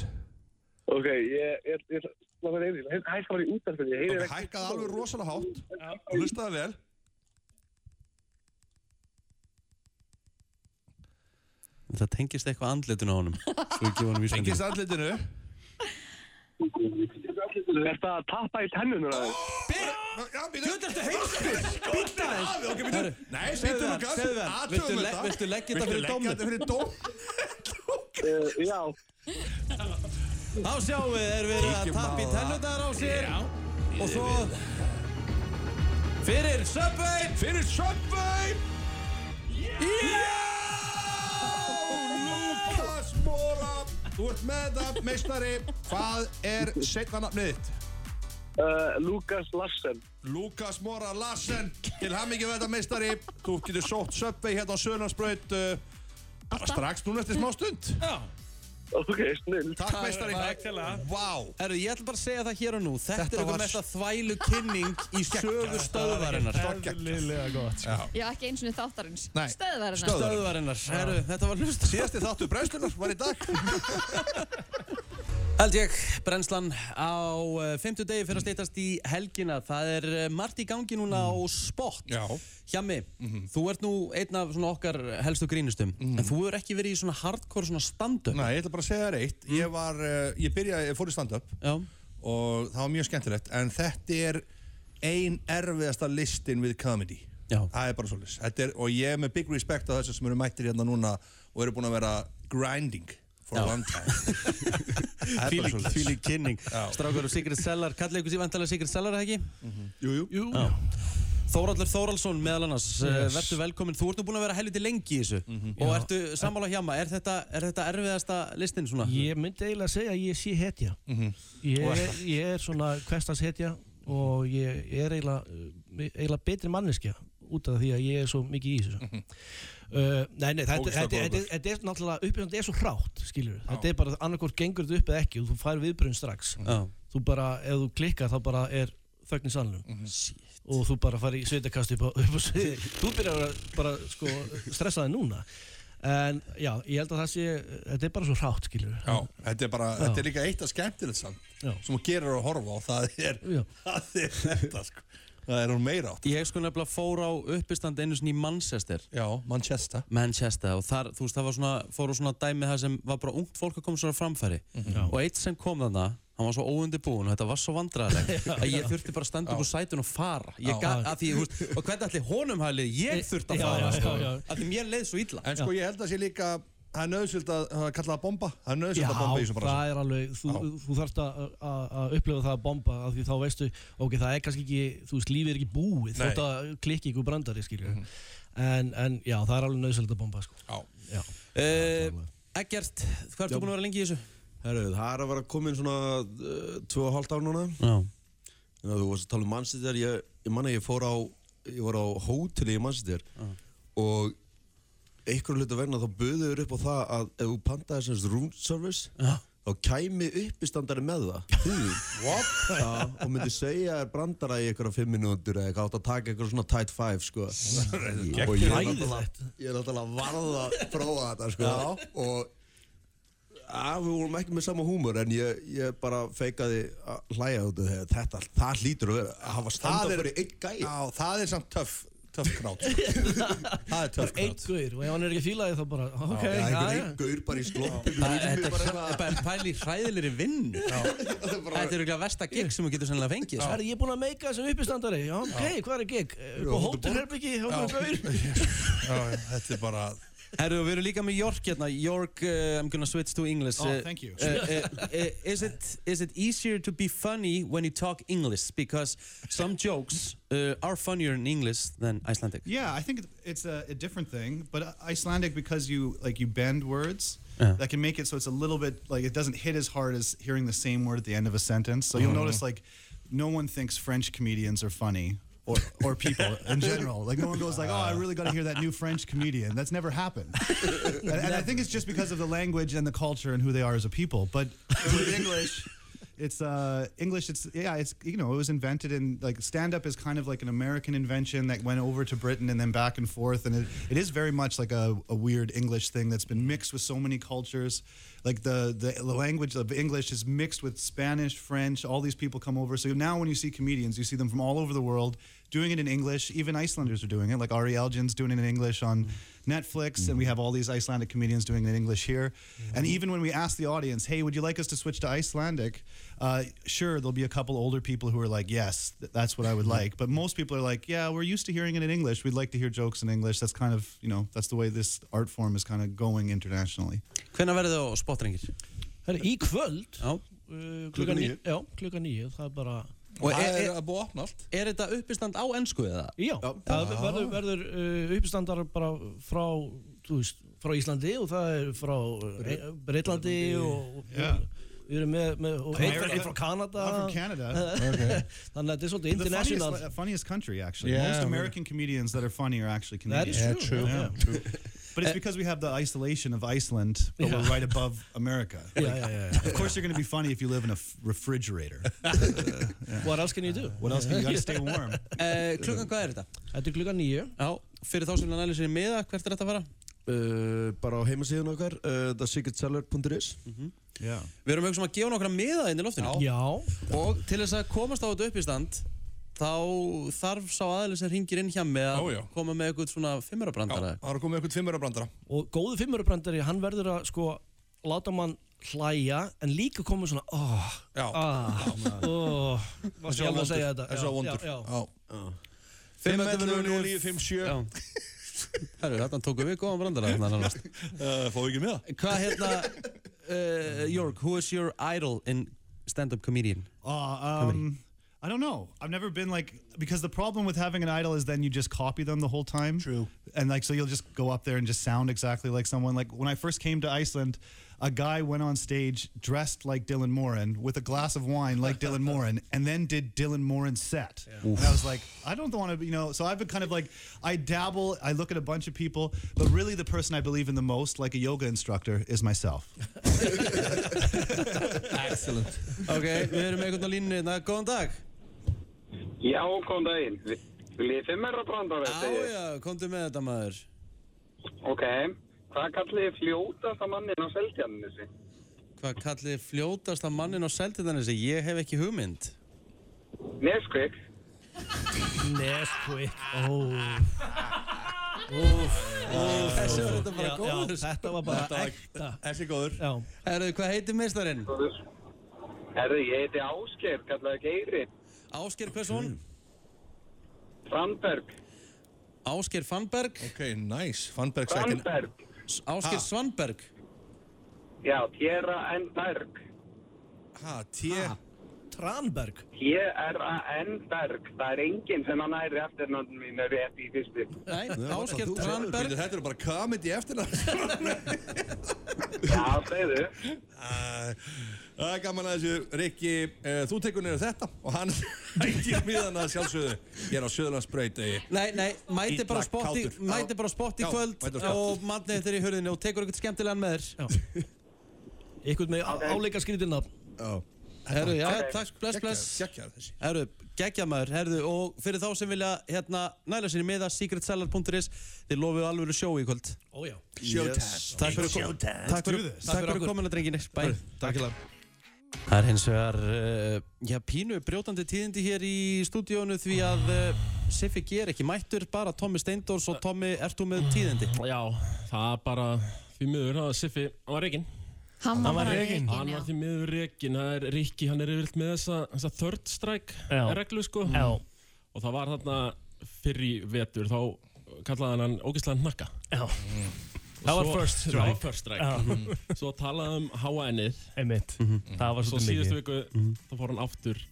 S9: Ok, ég, ég, ég, maður er einnig, hækka bara í útarfinni, ég heyri
S6: Ok, hækkaði alveg rosalega hátt og hlustaði vel
S2: Það tengist eitthvað andlitun á honum. Svo ekki honum vísbendingu.
S6: Engist andlitinu
S9: ekki. Er það að tappa í tennunum aðeins?
S6: Já, býtu
S2: Þetta ertu heimsbyr! Býta þess!
S6: Ok, býtu
S2: Herru,
S6: Nei, býtu,
S2: segðu það,
S6: Lukas
S2: segðu það.
S6: athugum
S2: Viltu le-
S6: þetta.
S2: viltu leggja þetta fyrir
S6: Viltu
S2: dómnum?
S6: leggja þetta fyrir dóm? *laughs*
S9: Uh, já,
S2: Þá sjáum við, er við að
S6: Kíkjum
S2: tappa í
S6: á það.
S2: tennundar á sér. Og svo... Fyrir Subway!
S6: Fyrir Subway Lukas Móra Þú ert með það, meistari Hvað er setna nafnið þitt?
S9: uh, Lukas Larsen.
S6: Lukas Móra Larsen Til hamingi við þetta, meistari Þú getur sótt Subway hérna á Söðunarsbraut uh, bara Strax núna eftir smá stund
S9: Ok, snill.
S6: Takk, meistari
S4: Takk til það
S6: Vá
S2: Herru, ég ætla bara að segja það hér og nú. Þetta, er
S6: Þetta var
S2: eitthvað mesta þvælu kynning
S6: *laughs*
S2: í sögu stöðvarinnar.
S4: Eðlilega gott sko.
S3: Já, ekki eins og þáttarins
S6: Nei.
S3: Stöðvarina
S6: Stöð-
S2: Stöðvarinnar. Herru, þetta var hlust.
S6: Síðasti þáttu brennslunar var í dag
S2: Held ég, brennslan á uh, 50 degi fyrir að steytast í helgina. Það er eh, margt í gangi núna á spott.
S6: Mm. Já. Mhm.
S2: Hjami, þú ert nú einn af svona okkar helstu grínustum, en þú hefur ekki verið í svona hardcore svona stand-up.
S6: Mm. Nei, ég ætla bara að segja þér eitt Ég var, uh, ég byrjaði, ég fór í stand-up
S2: Já.
S6: og það var mjög skemmtilegt en þetta er ein erfiðasta listin við comedy
S2: Já.
S6: það er bara svolítið þetta er, og ég er með big respect á þessu sem eru mættir hérna núna og eru búin að vera grinding for a long *laughs* time það er bara
S2: Fílík,
S6: svolítið
S2: fílík kynning. *laughs* Strákar og Sigrid Sellar, kallið ykkur sér vantilega Sigrid Sellar, eða ekki?
S6: jú, jú. Jú.
S2: Þóraldur Þóralsson meðal annars, yes. verður velkominn. Þú ert nú búin að vera helviti lengi í þessu
S10: Mhm.
S2: og ertu sammála hjama. Er þetta, er þetta erfiðasta listin svona?
S10: Ég myndi eiginlega að segja að ég sé hetja.
S6: Mhm.
S10: ég, er, ég er svona kvestans hetja og ég er eiginlega, eh, eiginlega betri manneskja út af því að ég er svo mikið í þessu. uh, nei, nei, þetta,
S6: Mhm. Ógeðslega
S10: þetta,
S6: góður.
S10: þetta, þetta er náttúrulega uppbyrjandi, þetta er svo hrátt, skilur Þetta er bara annarkort gengur þetta upp eða ekki og þú fær viðbrun strax.
S6: Mhm.
S2: Já.
S10: Þú bara, ef þú klikkar þá bara er þögn í salnum.
S6: Mhm.
S10: Og þú bara farið í sveitakast upp á, upp á sviði. þú byrjar að bara, sko, stressa þig núna. En já, ég held að það sé, þetta er bara svo hrátt, skilur
S6: Já, þetta er bara, þetta er líka eitt af skemmtilegt samt
S10: Já.
S6: sem þú gerir að horfa á það er,
S10: Já.
S6: það er þetta sko Það er hún meira átt
S2: Ég sko nefnilega fór á uppistand einu sinni í Manchester
S6: Já, Manchester
S2: Manchester og þar, þú veist, það var svona, fór á svona dæmi það sem var bara ungt fólk að koma svona framfæri
S10: Mhm.
S2: og eitt sem kom þarna, hann var svo óundibúin og þetta var svo
S10: *laughs*
S2: vandræðilegt að ég þurfti bara að standa upp úr sætun og fara ég
S6: Já.
S2: gaf, að því, þú veist, og hvernig allir honum hælið, ég þurfti að
S10: Já,
S2: fara
S10: já,
S2: sko,
S10: já, já.
S2: að því mér leið svo illa
S6: En sko ég held að sé líka Það er nöðsvild að það er kallað að bomba Það er nöðsvild að bomba í þessum bara
S10: það er alveg, þú, þú þarft að, að, að upplifa það að bomba af því þá veistu, ok, það er kannski ekki, þú veist, lífið er ekki búið,
S6: Nei. Mhm.
S10: þótt að klikki ykkur brandari, skilur en, en já, það er alveg nöðsöld að bomba, sko.
S6: Já
S10: Já.
S2: uh, Eggert, hvað ertu búin að vera lengi í þessu?
S11: Herru, það er að vera komin svona uh, tvö og hálft ár núna
S2: Já
S11: En þú varst að tala um Manchester, ég, ég manna ég fór á, ég var á hóteli í Manchester og einhverju hlutu verna þá böðuður upp á það að ef þú pantaði semst room service þá kæmi uppistandari með
S6: *laughs*
S11: það Hugum. Já, og myndi segja er brandara í einhverja fimm minútur eða eitthvað átt að taka einhverja svona tight five sko. og ég er náttúrulega ég er náttúrulega varð að prófa þetta sko. og að við vorum ekki með sama húmur en ég, ég bara feikaði að hlæja út af þetta, þetta, það hlýtur að vera að hafa
S6: Það
S11: standa
S6: er-
S11: fyrir einn gæja
S6: Já, það er samt töff Töff knát sko.
S11: *laughs*
S6: Það er töff
S10: Einn
S6: knát
S10: guður, og ef hann er ekki að fíla þig þá bara, ok,
S11: Það er
S10: já,
S11: einhver
S10: já.
S11: einn gaur bara í slopp
S2: Þetta er hræ- bara pæli hræðilegri vinnu Þetta er eitthvað versta gig sem þú getur sennilega fengið sko.
S10: Það er ég er búinn að meika þessum uppistandari, já, ok, hvað er gig? Upp á hótelherbyggi, hótelherbyggi.
S6: Já, þetta er bara
S2: Herru, við erum líka með York hérna York, uh, I'm gonna switch to English
S12: Oh,
S2: Uh,
S12: thank you.
S2: uh, uh, uh, is, it, is it easier to be funny when you talk English? Because some jokes uh, are funnier in English than Icelandic
S12: Yeah, I think it- it's a, a different thing, but Icelandic because you like you bend words
S2: Yeah.
S12: that can make it so it's a little bit like it doesn't hit as hard as hearing the same word at the end of a sentence. So you'll notice like no one thinks French comedians are funny. Or, or people in general. Like, no one goes like, oh, I really got to hear that new French comedian. That's never happened. and, and I think it's just because of the language and the culture and who they are as a people. But with English, *laughs* it's uh, English. It's yeah. It's you know it was invented in like stand up is kind of like an American invention that went over to Britain and then back and forth, and it, it is very much like a, a weird English thing that's been mixed with so many cultures. Like the the language of English is mixed with Spanish, French. All these people come over. So now when you see comedians, you see them from all over the world doing it in English. Even Icelanders are doing it. Like Ari Elgin's doing it in English on Netflix, and we have all these Icelandic comedians doing it in English here. And even when we ask the audience, "Hey, would you like us to switch to Icelandic?" Uh, sure, there'll be a couple older people who are like, "Yes, th- that's what I would like." But most people are like, "Yeah, we're used to hearing it in English. We'd like to hear jokes in English." That's kind of you know that's the way this art form is kind of going internationally.
S2: Hvenær verður það á spotrengir?
S10: Herra, í kvöld,
S2: Já
S10: uh,
S11: Klukkan
S10: klukkan
S11: níu.
S10: níu, já, klukkan níu, það er bara...
S2: Og
S11: e-
S6: Það
S2: er,
S6: er
S2: er,
S6: að búa opna allt
S2: er þetta uppistand á ennsku eða?
S10: Já, það verður, verður uh, uppstandar bara frá, þú veist, frá Íslandi og það er frá uh, Breitlandi og, og
S12: Já.
S10: við erum með, með og einn frá-
S12: America-
S10: einn frá Kanada.
S12: I'm from
S10: *laughs*
S12: Canada.
S10: Þannig að þetta er svolítið
S12: The funniest,
S10: international.
S12: uh, funniest country, actually.
S6: Yeah,
S12: Most
S6: we-
S12: American comedians that are funny are actually
S10: That
S12: Canadians.
S10: is true.
S6: true.
S10: Yeah.
S12: But it's because we have the isolation of Iceland, but we're
S10: Yeah.
S12: right above America. Like,
S10: Yeah, yeah, yeah.
S12: Of course, you're going to be funny if you live in a f- refrigerator.
S10: What else can you do?
S12: What else? Can you got to stay warm.
S2: Uh, klukkan hvað er þetta?
S10: Þetta er klukkan nýju.
S2: Já, fyrir þá sem hann alveg sér meða, hvert er þetta að fara?
S11: Uh, bara á heimasíðun okkar uh, thesecretseller.is
S6: Mhm.
S12: Yeah.
S2: Við erum auðvitað sem að gefa nokkra meða inn í loftinu
S10: Já.
S2: Og til þess að komast á þetta uppistand þá þarf sá aðeins sem ringir inn hjá mig að
S6: Ó, já.
S2: koma með eitthvað svona
S6: Já,
S2: fimmurabrandara
S6: það er að koma með eitthvað tvimmur brandara
S10: Og góðu fimmurubrandari, hann verður að sko láta mann hlæja en líka koma svona oh,
S6: Já,
S10: ah, oh, varst ég alveg að segja þetta
S6: Þessi var
S10: Já,
S6: vondur
S10: já, já.
S6: Já.
S11: Ah.
S2: 5.11.09.57
S6: 5.11.09.57
S2: Herru, þarna tókum við góðan brandara þarna nánast.
S6: Uh, Fáðu ekki með það?
S2: Hvað
S10: *laughs*
S2: hérna uh, Jörg, who is your idol in stand-up comedian?
S12: Uh, um, I don't know. I've never been like because the problem with having an idol is then you just copy them the whole time. True. And like so you'll just go up there and just sound exactly like someone. Like when I first came to Iceland, a guy went on stage dressed like Dylan Moran with a glass of wine like Dylan Moran, and then did Dylan Moran's set. And I was like, I don't want to, you know. So I've been kind of like I dabble. I look at a bunch of people, but really the person I believe in the most, like a yoga instructor, is myself.
S6: Excellent
S2: Ok, við erum með eitthvað á línu hérna, góðan dag
S9: Já, kom það inn. Viljið þið fimmera brandar
S2: Á já, komdu með þetta maður
S9: Ok, hvað kallið þið fljótasta mannin á seltjarnissi?
S2: Hvað kallið fljótasta mannin á seltindanessi? Ég hef ekki hugmynd
S9: Neskvik.
S10: Nesquik Óf Óf
S2: Þessi var þetta bara góður.
S10: Þetta var bara ekta
S6: Þessi góður
S10: Já
S2: Herru, hvað heitir mistarinn?
S13: Herðu, ég heiti Ásker, kallaði Geiri.
S2: Ásker Hversson?
S13: Framberg.
S2: Ásker Fannberg
S6: Ok, nice, Fannberg
S13: Fannberg.
S2: Ásker
S6: Ha?
S2: Svanberg
S13: Já, Tjera N. Berg.
S6: Ha, T...
S10: Tranberg
S13: T-R-A-N Berg. Það er enginn sem að næri eftirnöndum mín er rétt í fyrstu.
S2: Nei,
S6: Ásker Tranberg Þetta eru bara komedi eftir
S10: *laughs*
S6: það
S13: Já, segðu
S6: Það er gaman að þessu Rikki, uh, þú tekur niður þetta og hann *laughs* hættir miðan að sjálfsögðu Ég er á Söðlandsbrauti
S2: Nei, nei, mæti bara á spott í- mæti bara á spott í
S6: Já,
S2: kvöld
S6: mæti á spott.
S2: og matnið þetta er í hörðinu og tekur eitthvað skemmtilegan með þér
S10: Ykkur með áleika skrítilna
S2: Herru, já,
S10: Ok.
S2: takk, bless,
S6: bless
S2: Herru, geggja maður, herru og fyrir þá sem vilja hérna næla sér í miða secretseller.is þið lofið alveg sjó í kvöld
S10: Ójá
S2: Showtime. Takk fyrir, kom, takk fyrir, takk fyrir komuna drenginir Bæ
S10: Takk fyrir
S2: Það er hins vegar uh, já, pínu brjótandi tíðindi hér í stúdíónu því að uh, Siffi G er ekki mættur, bara Tommi Steindors og Tommi, ert þú með tíðindi?
S14: Já, það er bara því miður að Siffi, hann var reygin
S3: Hann var bara rekinn,
S14: Hann
S3: já.
S14: var því miður reygin, það er Rikki, hann er yfirlt með þessa, þessa third strike
S10: Já.
S14: reglu sko Já. Og það var þarna fyrr í vetur, þá kallaði hann hann ógeðslega hnakka
S10: Já
S14: Og
S4: Það var
S14: svo-
S4: first
S14: Það var
S4: strike.
S14: first strike
S4: Já.
S14: Mhm. Svo talaði um HN-ið
S4: Einmitt.
S6: Mhm.
S4: Það var
S14: Svo
S4: svolítið
S14: síðustu
S4: mikið. Mhm.
S14: viku, þá fór hann aftur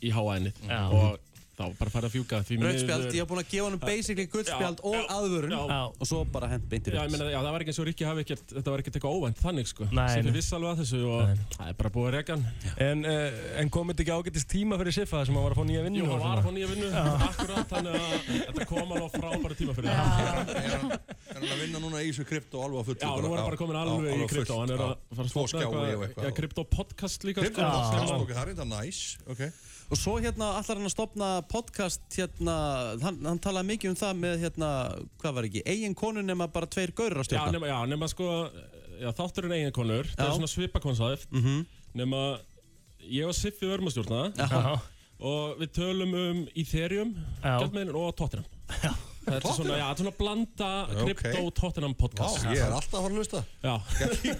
S14: í HN-ið
S4: Já.
S14: Og þá var bara farið að fjúka því
S2: Rautt
S14: miður-
S2: spjald, ég hef búin að gefa hann basically gult spjald
S14: Já, já,
S2: og aðvörun
S14: já.
S2: og svo bara hent beinti
S14: Já, ég meina, já, það var ekki eins og Rikki hafi ekkert, þetta var ekkert eitthvað óvænt þannig, sko. Sem þið viss alveg að þessu og það er bara búið að reka hann.
S4: En, uh, en komið ekki ágættist tíma fyrir Siffa þar sem hann var að fá nýja vinnu?
S14: Jú,
S4: og
S14: hann var
S4: svona?
S14: að fá nýja vinnu, akkurat, þannig að þetta kom alveg á frábæra tíma fyrir hann.
S6: Er hann að vinna núna í þessu krypto alveg á fullu?
S14: Já, nú er hann bara komin alveg í krypto, hann er að fara að
S6: Tvo
S14: stofna
S6: skjái og
S14: Já,
S6: eitthvað
S14: krypto podcast líka, sko.
S6: Krypto podcast,
S14: Já.
S6: ok, það er eitthvað nice okay.
S2: Og svo hérna allar hann að stopna podcast hérna, hann, hann talaði mikið um það með hérna, hvað var ekki, eigin konu nema bara tveir gaurar að
S14: Já,
S2: stjórna.
S14: nema, já, nema sko, já, þátturinn eigin konur, það er
S2: Já.
S14: svona svipakonsaðift, mm
S6: Mhm.
S14: nema ég og Siffi verðum að stjórna
S4: Já.
S14: það og við tölum um Ethereum, gjaldmiðlinn og Tottenham. Það er svona,
S6: Tottenham?
S14: já, þetta er svona blanda
S6: Já, ok.
S14: krypto og Tottenham podcast.
S6: Vá, ég er alltaf að fara
S14: *laughs*
S6: að hlusta
S14: Já.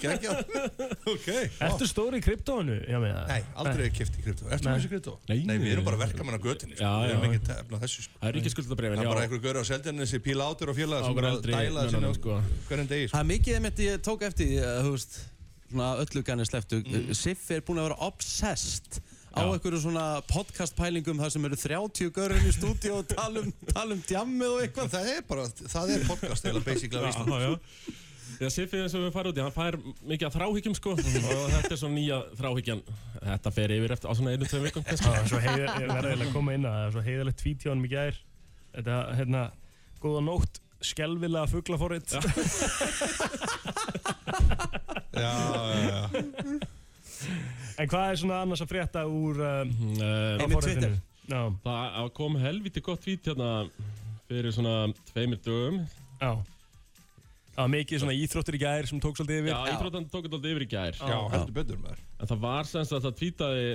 S6: Gægjað Ok
S4: Ertu stór í kryptóinu? Já, með það.
S6: Nei, aldrei kæft í krypto Ertu með þessu krypto? Nei, við erum bara verkamenn á götunni sko.
S14: Já,
S6: Við erum
S14: já.
S6: ekki að tefla þessu sko.
S14: Það er ekki skuldabrefin,
S6: Það er
S14: já.
S6: bara einhver gaur á seldjarninni sem píla átur og félaga sem
S14: Ákveður
S6: er að
S14: eldri
S6: dæla þessu
S14: mönnum,
S6: ná-
S14: sko.
S6: hverjum degi
S2: Það er mikið þeim ég tók eftir, því, að, þú veist, svona öllu kannir sleftu. Siffi er búinn að vera obsessed á einhverju svona podcastpælingum þar sem eru 30 görðin í stúdíu og tala um, tala um djammið og eitthvað.
S6: Það er bara, það er podcast eða basically á
S14: Já, já.
S6: Ísland
S14: Já, Siffi eins og við farum út í, hann fær mikið að þráhyggjum sko
S6: *laughs*
S14: og þetta er svona nýja þráhyggjan Þetta fer yfir eftir á svona einu, tveim vikum kannski.
S4: Já, svo heiðar, ég verði eiginlega að koma inn að það er svo heiðarlegt tvít hjá honum í gær Þetta, hérna, góða nótt, skelvilega fuglafórið
S6: Já, já, já
S4: En hvað er svona annars að frétta úr um,
S14: Einmitt
S4: forritinu?
S14: Twitter.
S4: Já,
S14: Það það kom helviti gott vít hérna fyrir svona tveimur dögum
S4: já Það var mikið svona íþróttir í gær sem tók svolítið yfir
S14: Já, íþróttan tók þetta aldrei yfir í gær
S4: Já, heldur
S6: betur maður
S14: En það var semst að það tvítaði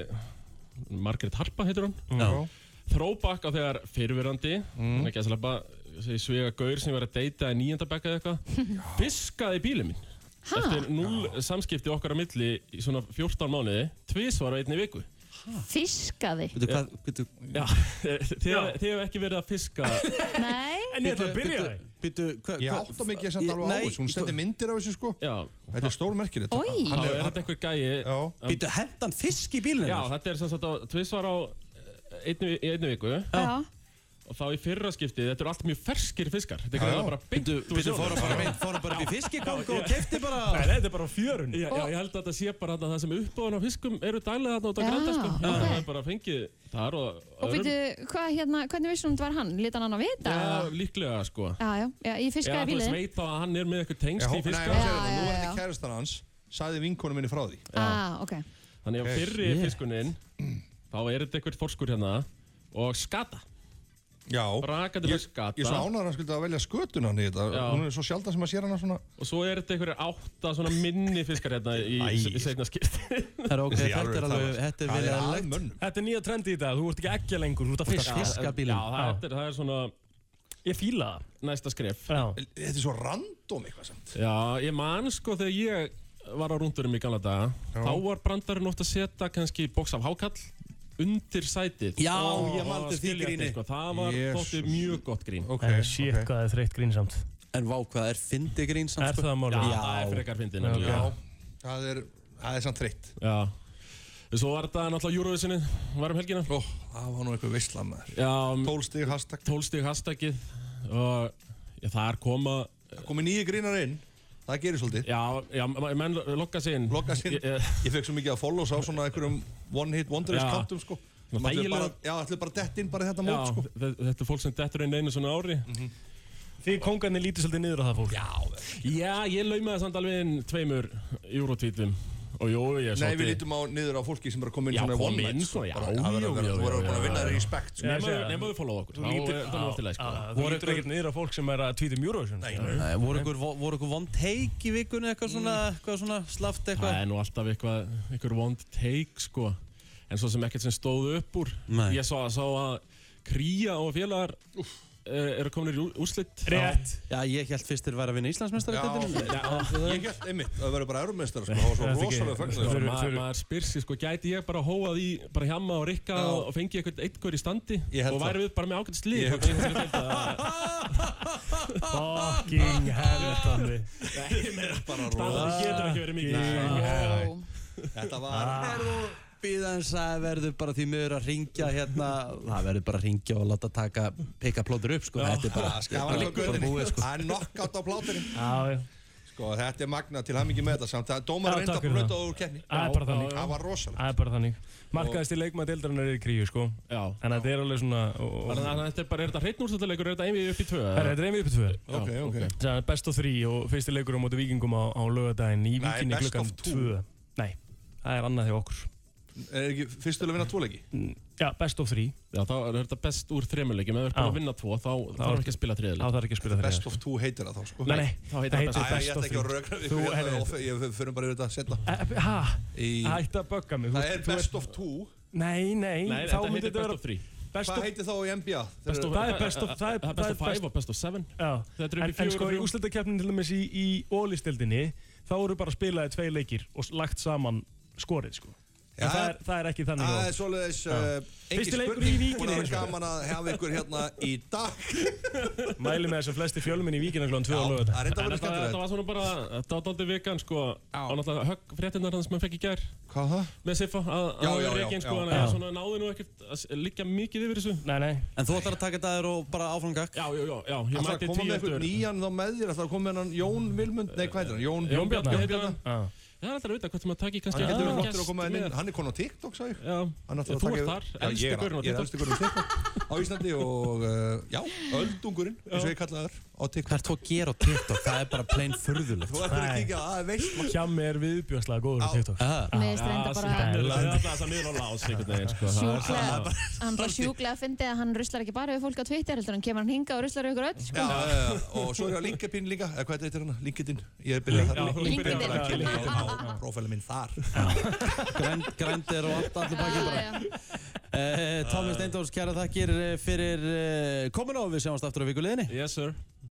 S14: Margrét Harpa heitur hún
S4: Já.
S14: Throwback á þegar fyrirverandi mm. ekki að slappa svega gaur sem ég var að deyta í nýjendabekka *laughs* eða eitthvað fiskaði bílið minn
S4: Ha?
S14: eftir null samskipti okkar á milli í svona 14 mánuði tvísvar á einni viku
S3: Fiskaði
S2: Býtu,
S14: Já, þið þið hefur ekki verið að fiska *laughs*
S3: Nei
S2: Býtu, hvað?
S6: Ég
S14: hvað-
S6: átta mikið að senda alveg á
S14: Nei,
S6: þessu Hún sendir myndir á þessu sko
S14: Já
S6: Þetta er stór merkilegt
S14: Oj. Þá
S6: Hann
S14: er þetta einhver gæi
S2: Býtu, hendan fisk í bílinu
S14: Já, þetta er sem sagt á tvísvar á eh, einni, í einni viku
S3: Já.
S14: Og þá í fyrra skiptið, þetta eru allt mjög ferskir fiskar Þetta er
S2: Já, já.
S14: greinilega bara beint
S2: Bíddu, bíddu, fóru bara beint- fóru bara upp í fiskikóngó og keyptu bara- Nei,
S4: nei, þetta er bara fjörun
S14: Já, já, ég held að þetta sé bara þarna það sem uppbóðan á fiskum eru dælega þarna út á
S3: Já,
S14: granda sko.
S3: ok.
S14: Já, Það er bara fengið þar og
S3: Og
S14: öðrum.
S3: býtu, hvað hérna, hvernig vissum þetta var hann? Lít hann hann að vita?
S14: Já,
S3: eða?
S14: líklega sko
S3: Já, já, já, ég fiskaði
S14: Já, þú
S3: bílið.
S14: veist veit þá að hann er með eitthvað tengst í
S6: Nei,
S14: fiska
S6: hann segir þetta, nú var þetta kærastan hans Sæði vinkonu minni frá því
S3: Ah, ok.
S14: Þannig að
S6: Ok.
S14: fyrri
S6: Shit.
S14: fiskuninn, þá er þetta eitthvað fórskur hérna og skata
S6: Já,
S14: Rakandi
S6: ég,
S14: með skata
S6: ég er svo ánæður að hann skildi að velja skötuna hann í þetta
S14: Já.
S6: Hún er svo sjaldan sem að sér hana svona
S14: Og svo er þetta einhverja átta svona minni fiskar hérna í, í seinna skipti
S2: Það er ok, Þessi þetta er alveg- alveg- þetta er vel eðlilegt.
S4: *laughs* Þetta er nýja trendi í dag, þú ert ekki ekki lengur, þú ert að
S14: Þú ert
S4: fiska
S14: að fiska bílinn. Já, það er-
S4: er, það er svona Ég fíla það
S14: Næsta skref
S6: Þetta er svo random eitthvað sem
S14: Já, ég man sko þegar ég var á rúndurum í gamla daga Þá var brandarinn oft að setja kannski bóks af hákall undir sætið
S2: Já,
S14: Og-
S2: ég man
S14: og
S2: eftir því
S14: skilja
S2: gríni.
S14: þetta, sko. Það var
S2: Jesus.
S14: þótti mjög gott grín
S6: Ok,
S4: En sé hvað það er sko. þreytt grínsamt
S2: En vá, hvað er fyndi grínsamt
S4: Er
S2: sko?
S4: það málið?
S2: Já,
S14: það er frekar fyndið,
S2: Já,
S14: nefnilega.
S2: ok.
S6: Það er, það er samt þreytt
S14: Já Svo var þetta náttúrulega Eurovisinu, var um helgina
S6: Ó, það var nú eitthvað veistla maður
S14: Já, um,
S6: Tólstig hashtag
S14: Tólstig hashtagið Og já, þar koma Það
S6: komi nýju grínar inn Það gerir svolítið
S14: Já, já ma- menn lokka sig inn
S6: Lokka sig inn
S14: Ég- ég-
S6: Ég fekk svo mikið að follows á svona einhverjum one hit wonders
S14: Já.
S6: kantum sko
S14: Ná,
S6: Sem ætluðu
S14: þægilega-
S6: bara- Já, ætluðu bara dett inn bara í þetta mót
S14: Já,
S6: sko
S14: þe- Þetta er fólk sem dettur inn einu svona ári
S2: Mm.
S4: Því kongarnir lítið svolítið niður á það fólk
S6: Já,
S14: Já, ég laumaði samt alveg inn tveimur eurotvítum Og jú, ég
S6: Nei, við lítum á niður á fólki sem er að koma inn
S14: Já,
S6: svona í
S14: kom
S6: one
S14: inn,
S6: night
S14: sko, já,
S6: Bara,
S14: já,
S6: það verður að
S14: já, já,
S6: vera- Þú verður
S14: já,
S6: búin að
S14: já,
S6: vinna
S14: já.
S6: þér í respekt sko.
S14: Nei, Nema- ég- nema þú followað okkur.
S4: Þú
S14: Þá
S4: lítur
S14: er- þá er allt í lagi, sko.
S4: á- á-
S14: Voru
S4: Þú lítur
S14: ykkur-
S4: ekkert niður á fólk sem er að tvítum Eurovision
S2: Nei, voru ykkur, voru ykkur vond teik í vikunni eitthvað svona,
S14: Mm.
S2: eitthvað svona slaft eitthvað?
S14: Það er nú alltaf eitthvað, eitthvað vond take sko En svo sem ekkert sem stóð upp úr
S2: Nei.
S14: Ég sá, sá að Kría og félagar uh, eru komin í úrslitt
S2: Já, ég held fyrst þeir væri að vinna Íslandsmeistar
S6: Já, já, ég gætt einmitt að verður bara eurumestara sko, það var svo rosalega
S14: Maður
S6: faglega
S14: ma maður spyr sig sko, gæti ég bara hóað í bara hjamma og rikka og, og fengi eitthvað eitthvað í standi
S6: Ég held
S14: og væri
S6: það.
S14: við bara með ágætt slið
S6: Ég hugsa
S4: Fucking hell, Tommy
S6: bara
S4: Staðan getur ekki verið mikið Nei.
S6: Þetta var
S2: Bíðans að verður bara því miður að ringja hérna Það verður bara að ringja og láta taka peka plótur upp sko Þetta er bara,
S6: Það var líka
S2: bara
S6: göðinni
S2: búið sko
S6: Það er knockout á plátinni
S4: Já, já
S6: Sko þetta er magna til hamingi með þetta samt Það er dómar
S4: Já,
S6: reynda
S4: takk
S6: að
S4: fyrir
S6: bröta
S4: það. Ah.
S6: úr kenni
S4: Það er bara þannig.
S6: Það var rosalega
S4: Það er bara þannig Markaðist í leikmaða deildarinnar er í kríu sko
S14: Já.
S4: Þannig að þetta er alveg svona og-
S14: Þannig að þetta er bara, er þetta hreitn úrstölduleikur, er þetta einvið upp í tvö?
S4: Það er þetta reymið upp í tvö
S6: Ok, ok.
S4: Þannig að best of 3 og fyrsti leikur á móti vikingum á, á lögadaginn í
S6: Nei,
S4: vikinni
S6: best
S4: klukkan
S6: of two.
S4: 2 Nei, það er annað hjá okkur Mm,
S6: Er ekki fyrst til að vinna tvo leiki?
S4: Já, best of 3
S14: Já, þá er þetta best úr þremuleikum, ef við erum bara
S4: Já.
S14: að vinna tvo, þá þarf ekki að spila
S4: Þá
S14: þriðileik.
S4: þarf ekki að spila
S6: Best
S4: þriðja
S6: of two heitir það þá sko
S4: Nei, nei,
S14: Þá heitir það
S6: Æ, ég
S4: best
S6: ætla
S4: of
S6: ekki að
S4: 3
S6: rökra
S4: Þú,
S6: ykkur hérna,
S4: heyrðu.
S6: of- Ég fyrir bara yfir þetta setna
S4: Hæ?
S6: Í-
S4: Hætti að bögga mig þú
S6: Það
S4: ert-
S6: er
S4: þú ert-
S6: best of two
S4: Nei, nei,
S14: Nei,
S4: þá
S14: þetta heitir
S4: myndi þetta
S14: best
S4: vera
S14: of three.
S4: Best
S6: Hvað
S4: of
S6: heitir þá í NBA? Þeir
S14: Best
S6: eru-
S14: of-
S4: Það er best of- það er-
S14: það er best of
S4: það er
S14: five og best of seven.
S4: Já,
S14: Þetta er upp í
S4: en, en
S14: fjögur
S4: sko
S14: og
S4: í
S14: þrjú.
S4: úrslitakeppnin til dæmis í, í ólistildinni þá eru bara spilaði tvei leikir og s- lagt saman skorið sko
S6: Já,
S4: En það, er, það er ekki þannig
S6: Það
S4: á-
S6: er svoleiðis
S4: Já.
S6: uh,
S4: Fyrsti leikur í Víkinni
S6: Það
S4: hins
S6: er
S4: vegar.
S6: gaman að hafa ykkur hérna í dag
S4: Mæli með þess að flesti fjölminn í víkina klón 2 á
S6: Það er
S4: lögadag
S6: reynda
S14: En
S6: að vera
S14: þetta, þetta
S6: skemmtilegt
S14: var svona bara, þetta var daldið vikan sko, og náttúrulega högg fréttinnar hann sem hann fekk í gær
S6: Hvað það?
S14: með Siffa, að
S6: Já,
S14: að
S6: já, já,
S14: Reginn sko,
S6: já.
S14: hann er svona náði nú ekkert að s- liggja mikið yfir þessu.
S4: Nei, nei
S2: En þú ætlar að taka þetta þér og bara áfram gakk?
S14: Já, já, já, já, ég
S6: Það er að
S14: mæti
S6: koma með
S14: tíu
S6: eitthvað
S14: eftir.
S6: nýjan þá með þér Það er að koma með hennan Jón Vilmund Nei, hvað heitir hann? Jón,
S14: Jón Bjarni,
S6: Jón
S14: heitir
S6: Bjarni.
S4: Já.
S14: Það er alltaf að vita hvort maður taki kannski
S6: Hann getur verið
S14: annan
S6: flottur að
S14: gest
S6: koma henn inn
S14: með.
S6: Hann er konun á TikTok, sagði ég
S14: Já,
S6: Hann ætlar að
S14: þú
S6: taka
S14: ert
S6: yfir-
S14: þar,
S6: Já, ég
S14: elsti
S6: er-
S14: gaurinn á
S6: Ég er
S14: TikTok.
S6: elsti gurinn á TikTok Á Íslandi og uh, Já, öldungurinn eins og ég kalla þar á TikTok
S2: Hvað ert þú að gera á TikTok? Það er bara plain furðulegt
S6: Þú ættir að kíkja að veist
S4: Hjami er viðbjörnslega góður á TikTok
S3: Mér finnst reynda bara
S14: Það er alltaf að miðla á lás einhvern veginn sko. Það er-
S3: sjúklega hann bara sjúklega fyndi að hann ruslar ekki bara við fólk á Twitter heldur hann kemur hann hinga og ruslar við ykkur öll
S6: Já,
S3: sko.
S6: já, já, og svo er ég á LinkedIn líka, eða hvað heitir hann? LinkedIn, ég er byrjað
S14: Já,
S6: þar.
S14: þú
S3: byrjar þar.
S6: LinkedIn á prófælum minn þar.
S2: Grænd, grændir og allt allir bakið bara
S3: Já, já.
S2: eh, uh, Tómi Steindórs, kæra þakkir eh, fyrir uh, kominu og við sjáumst aftur á vikuleginni
S14: Yes sir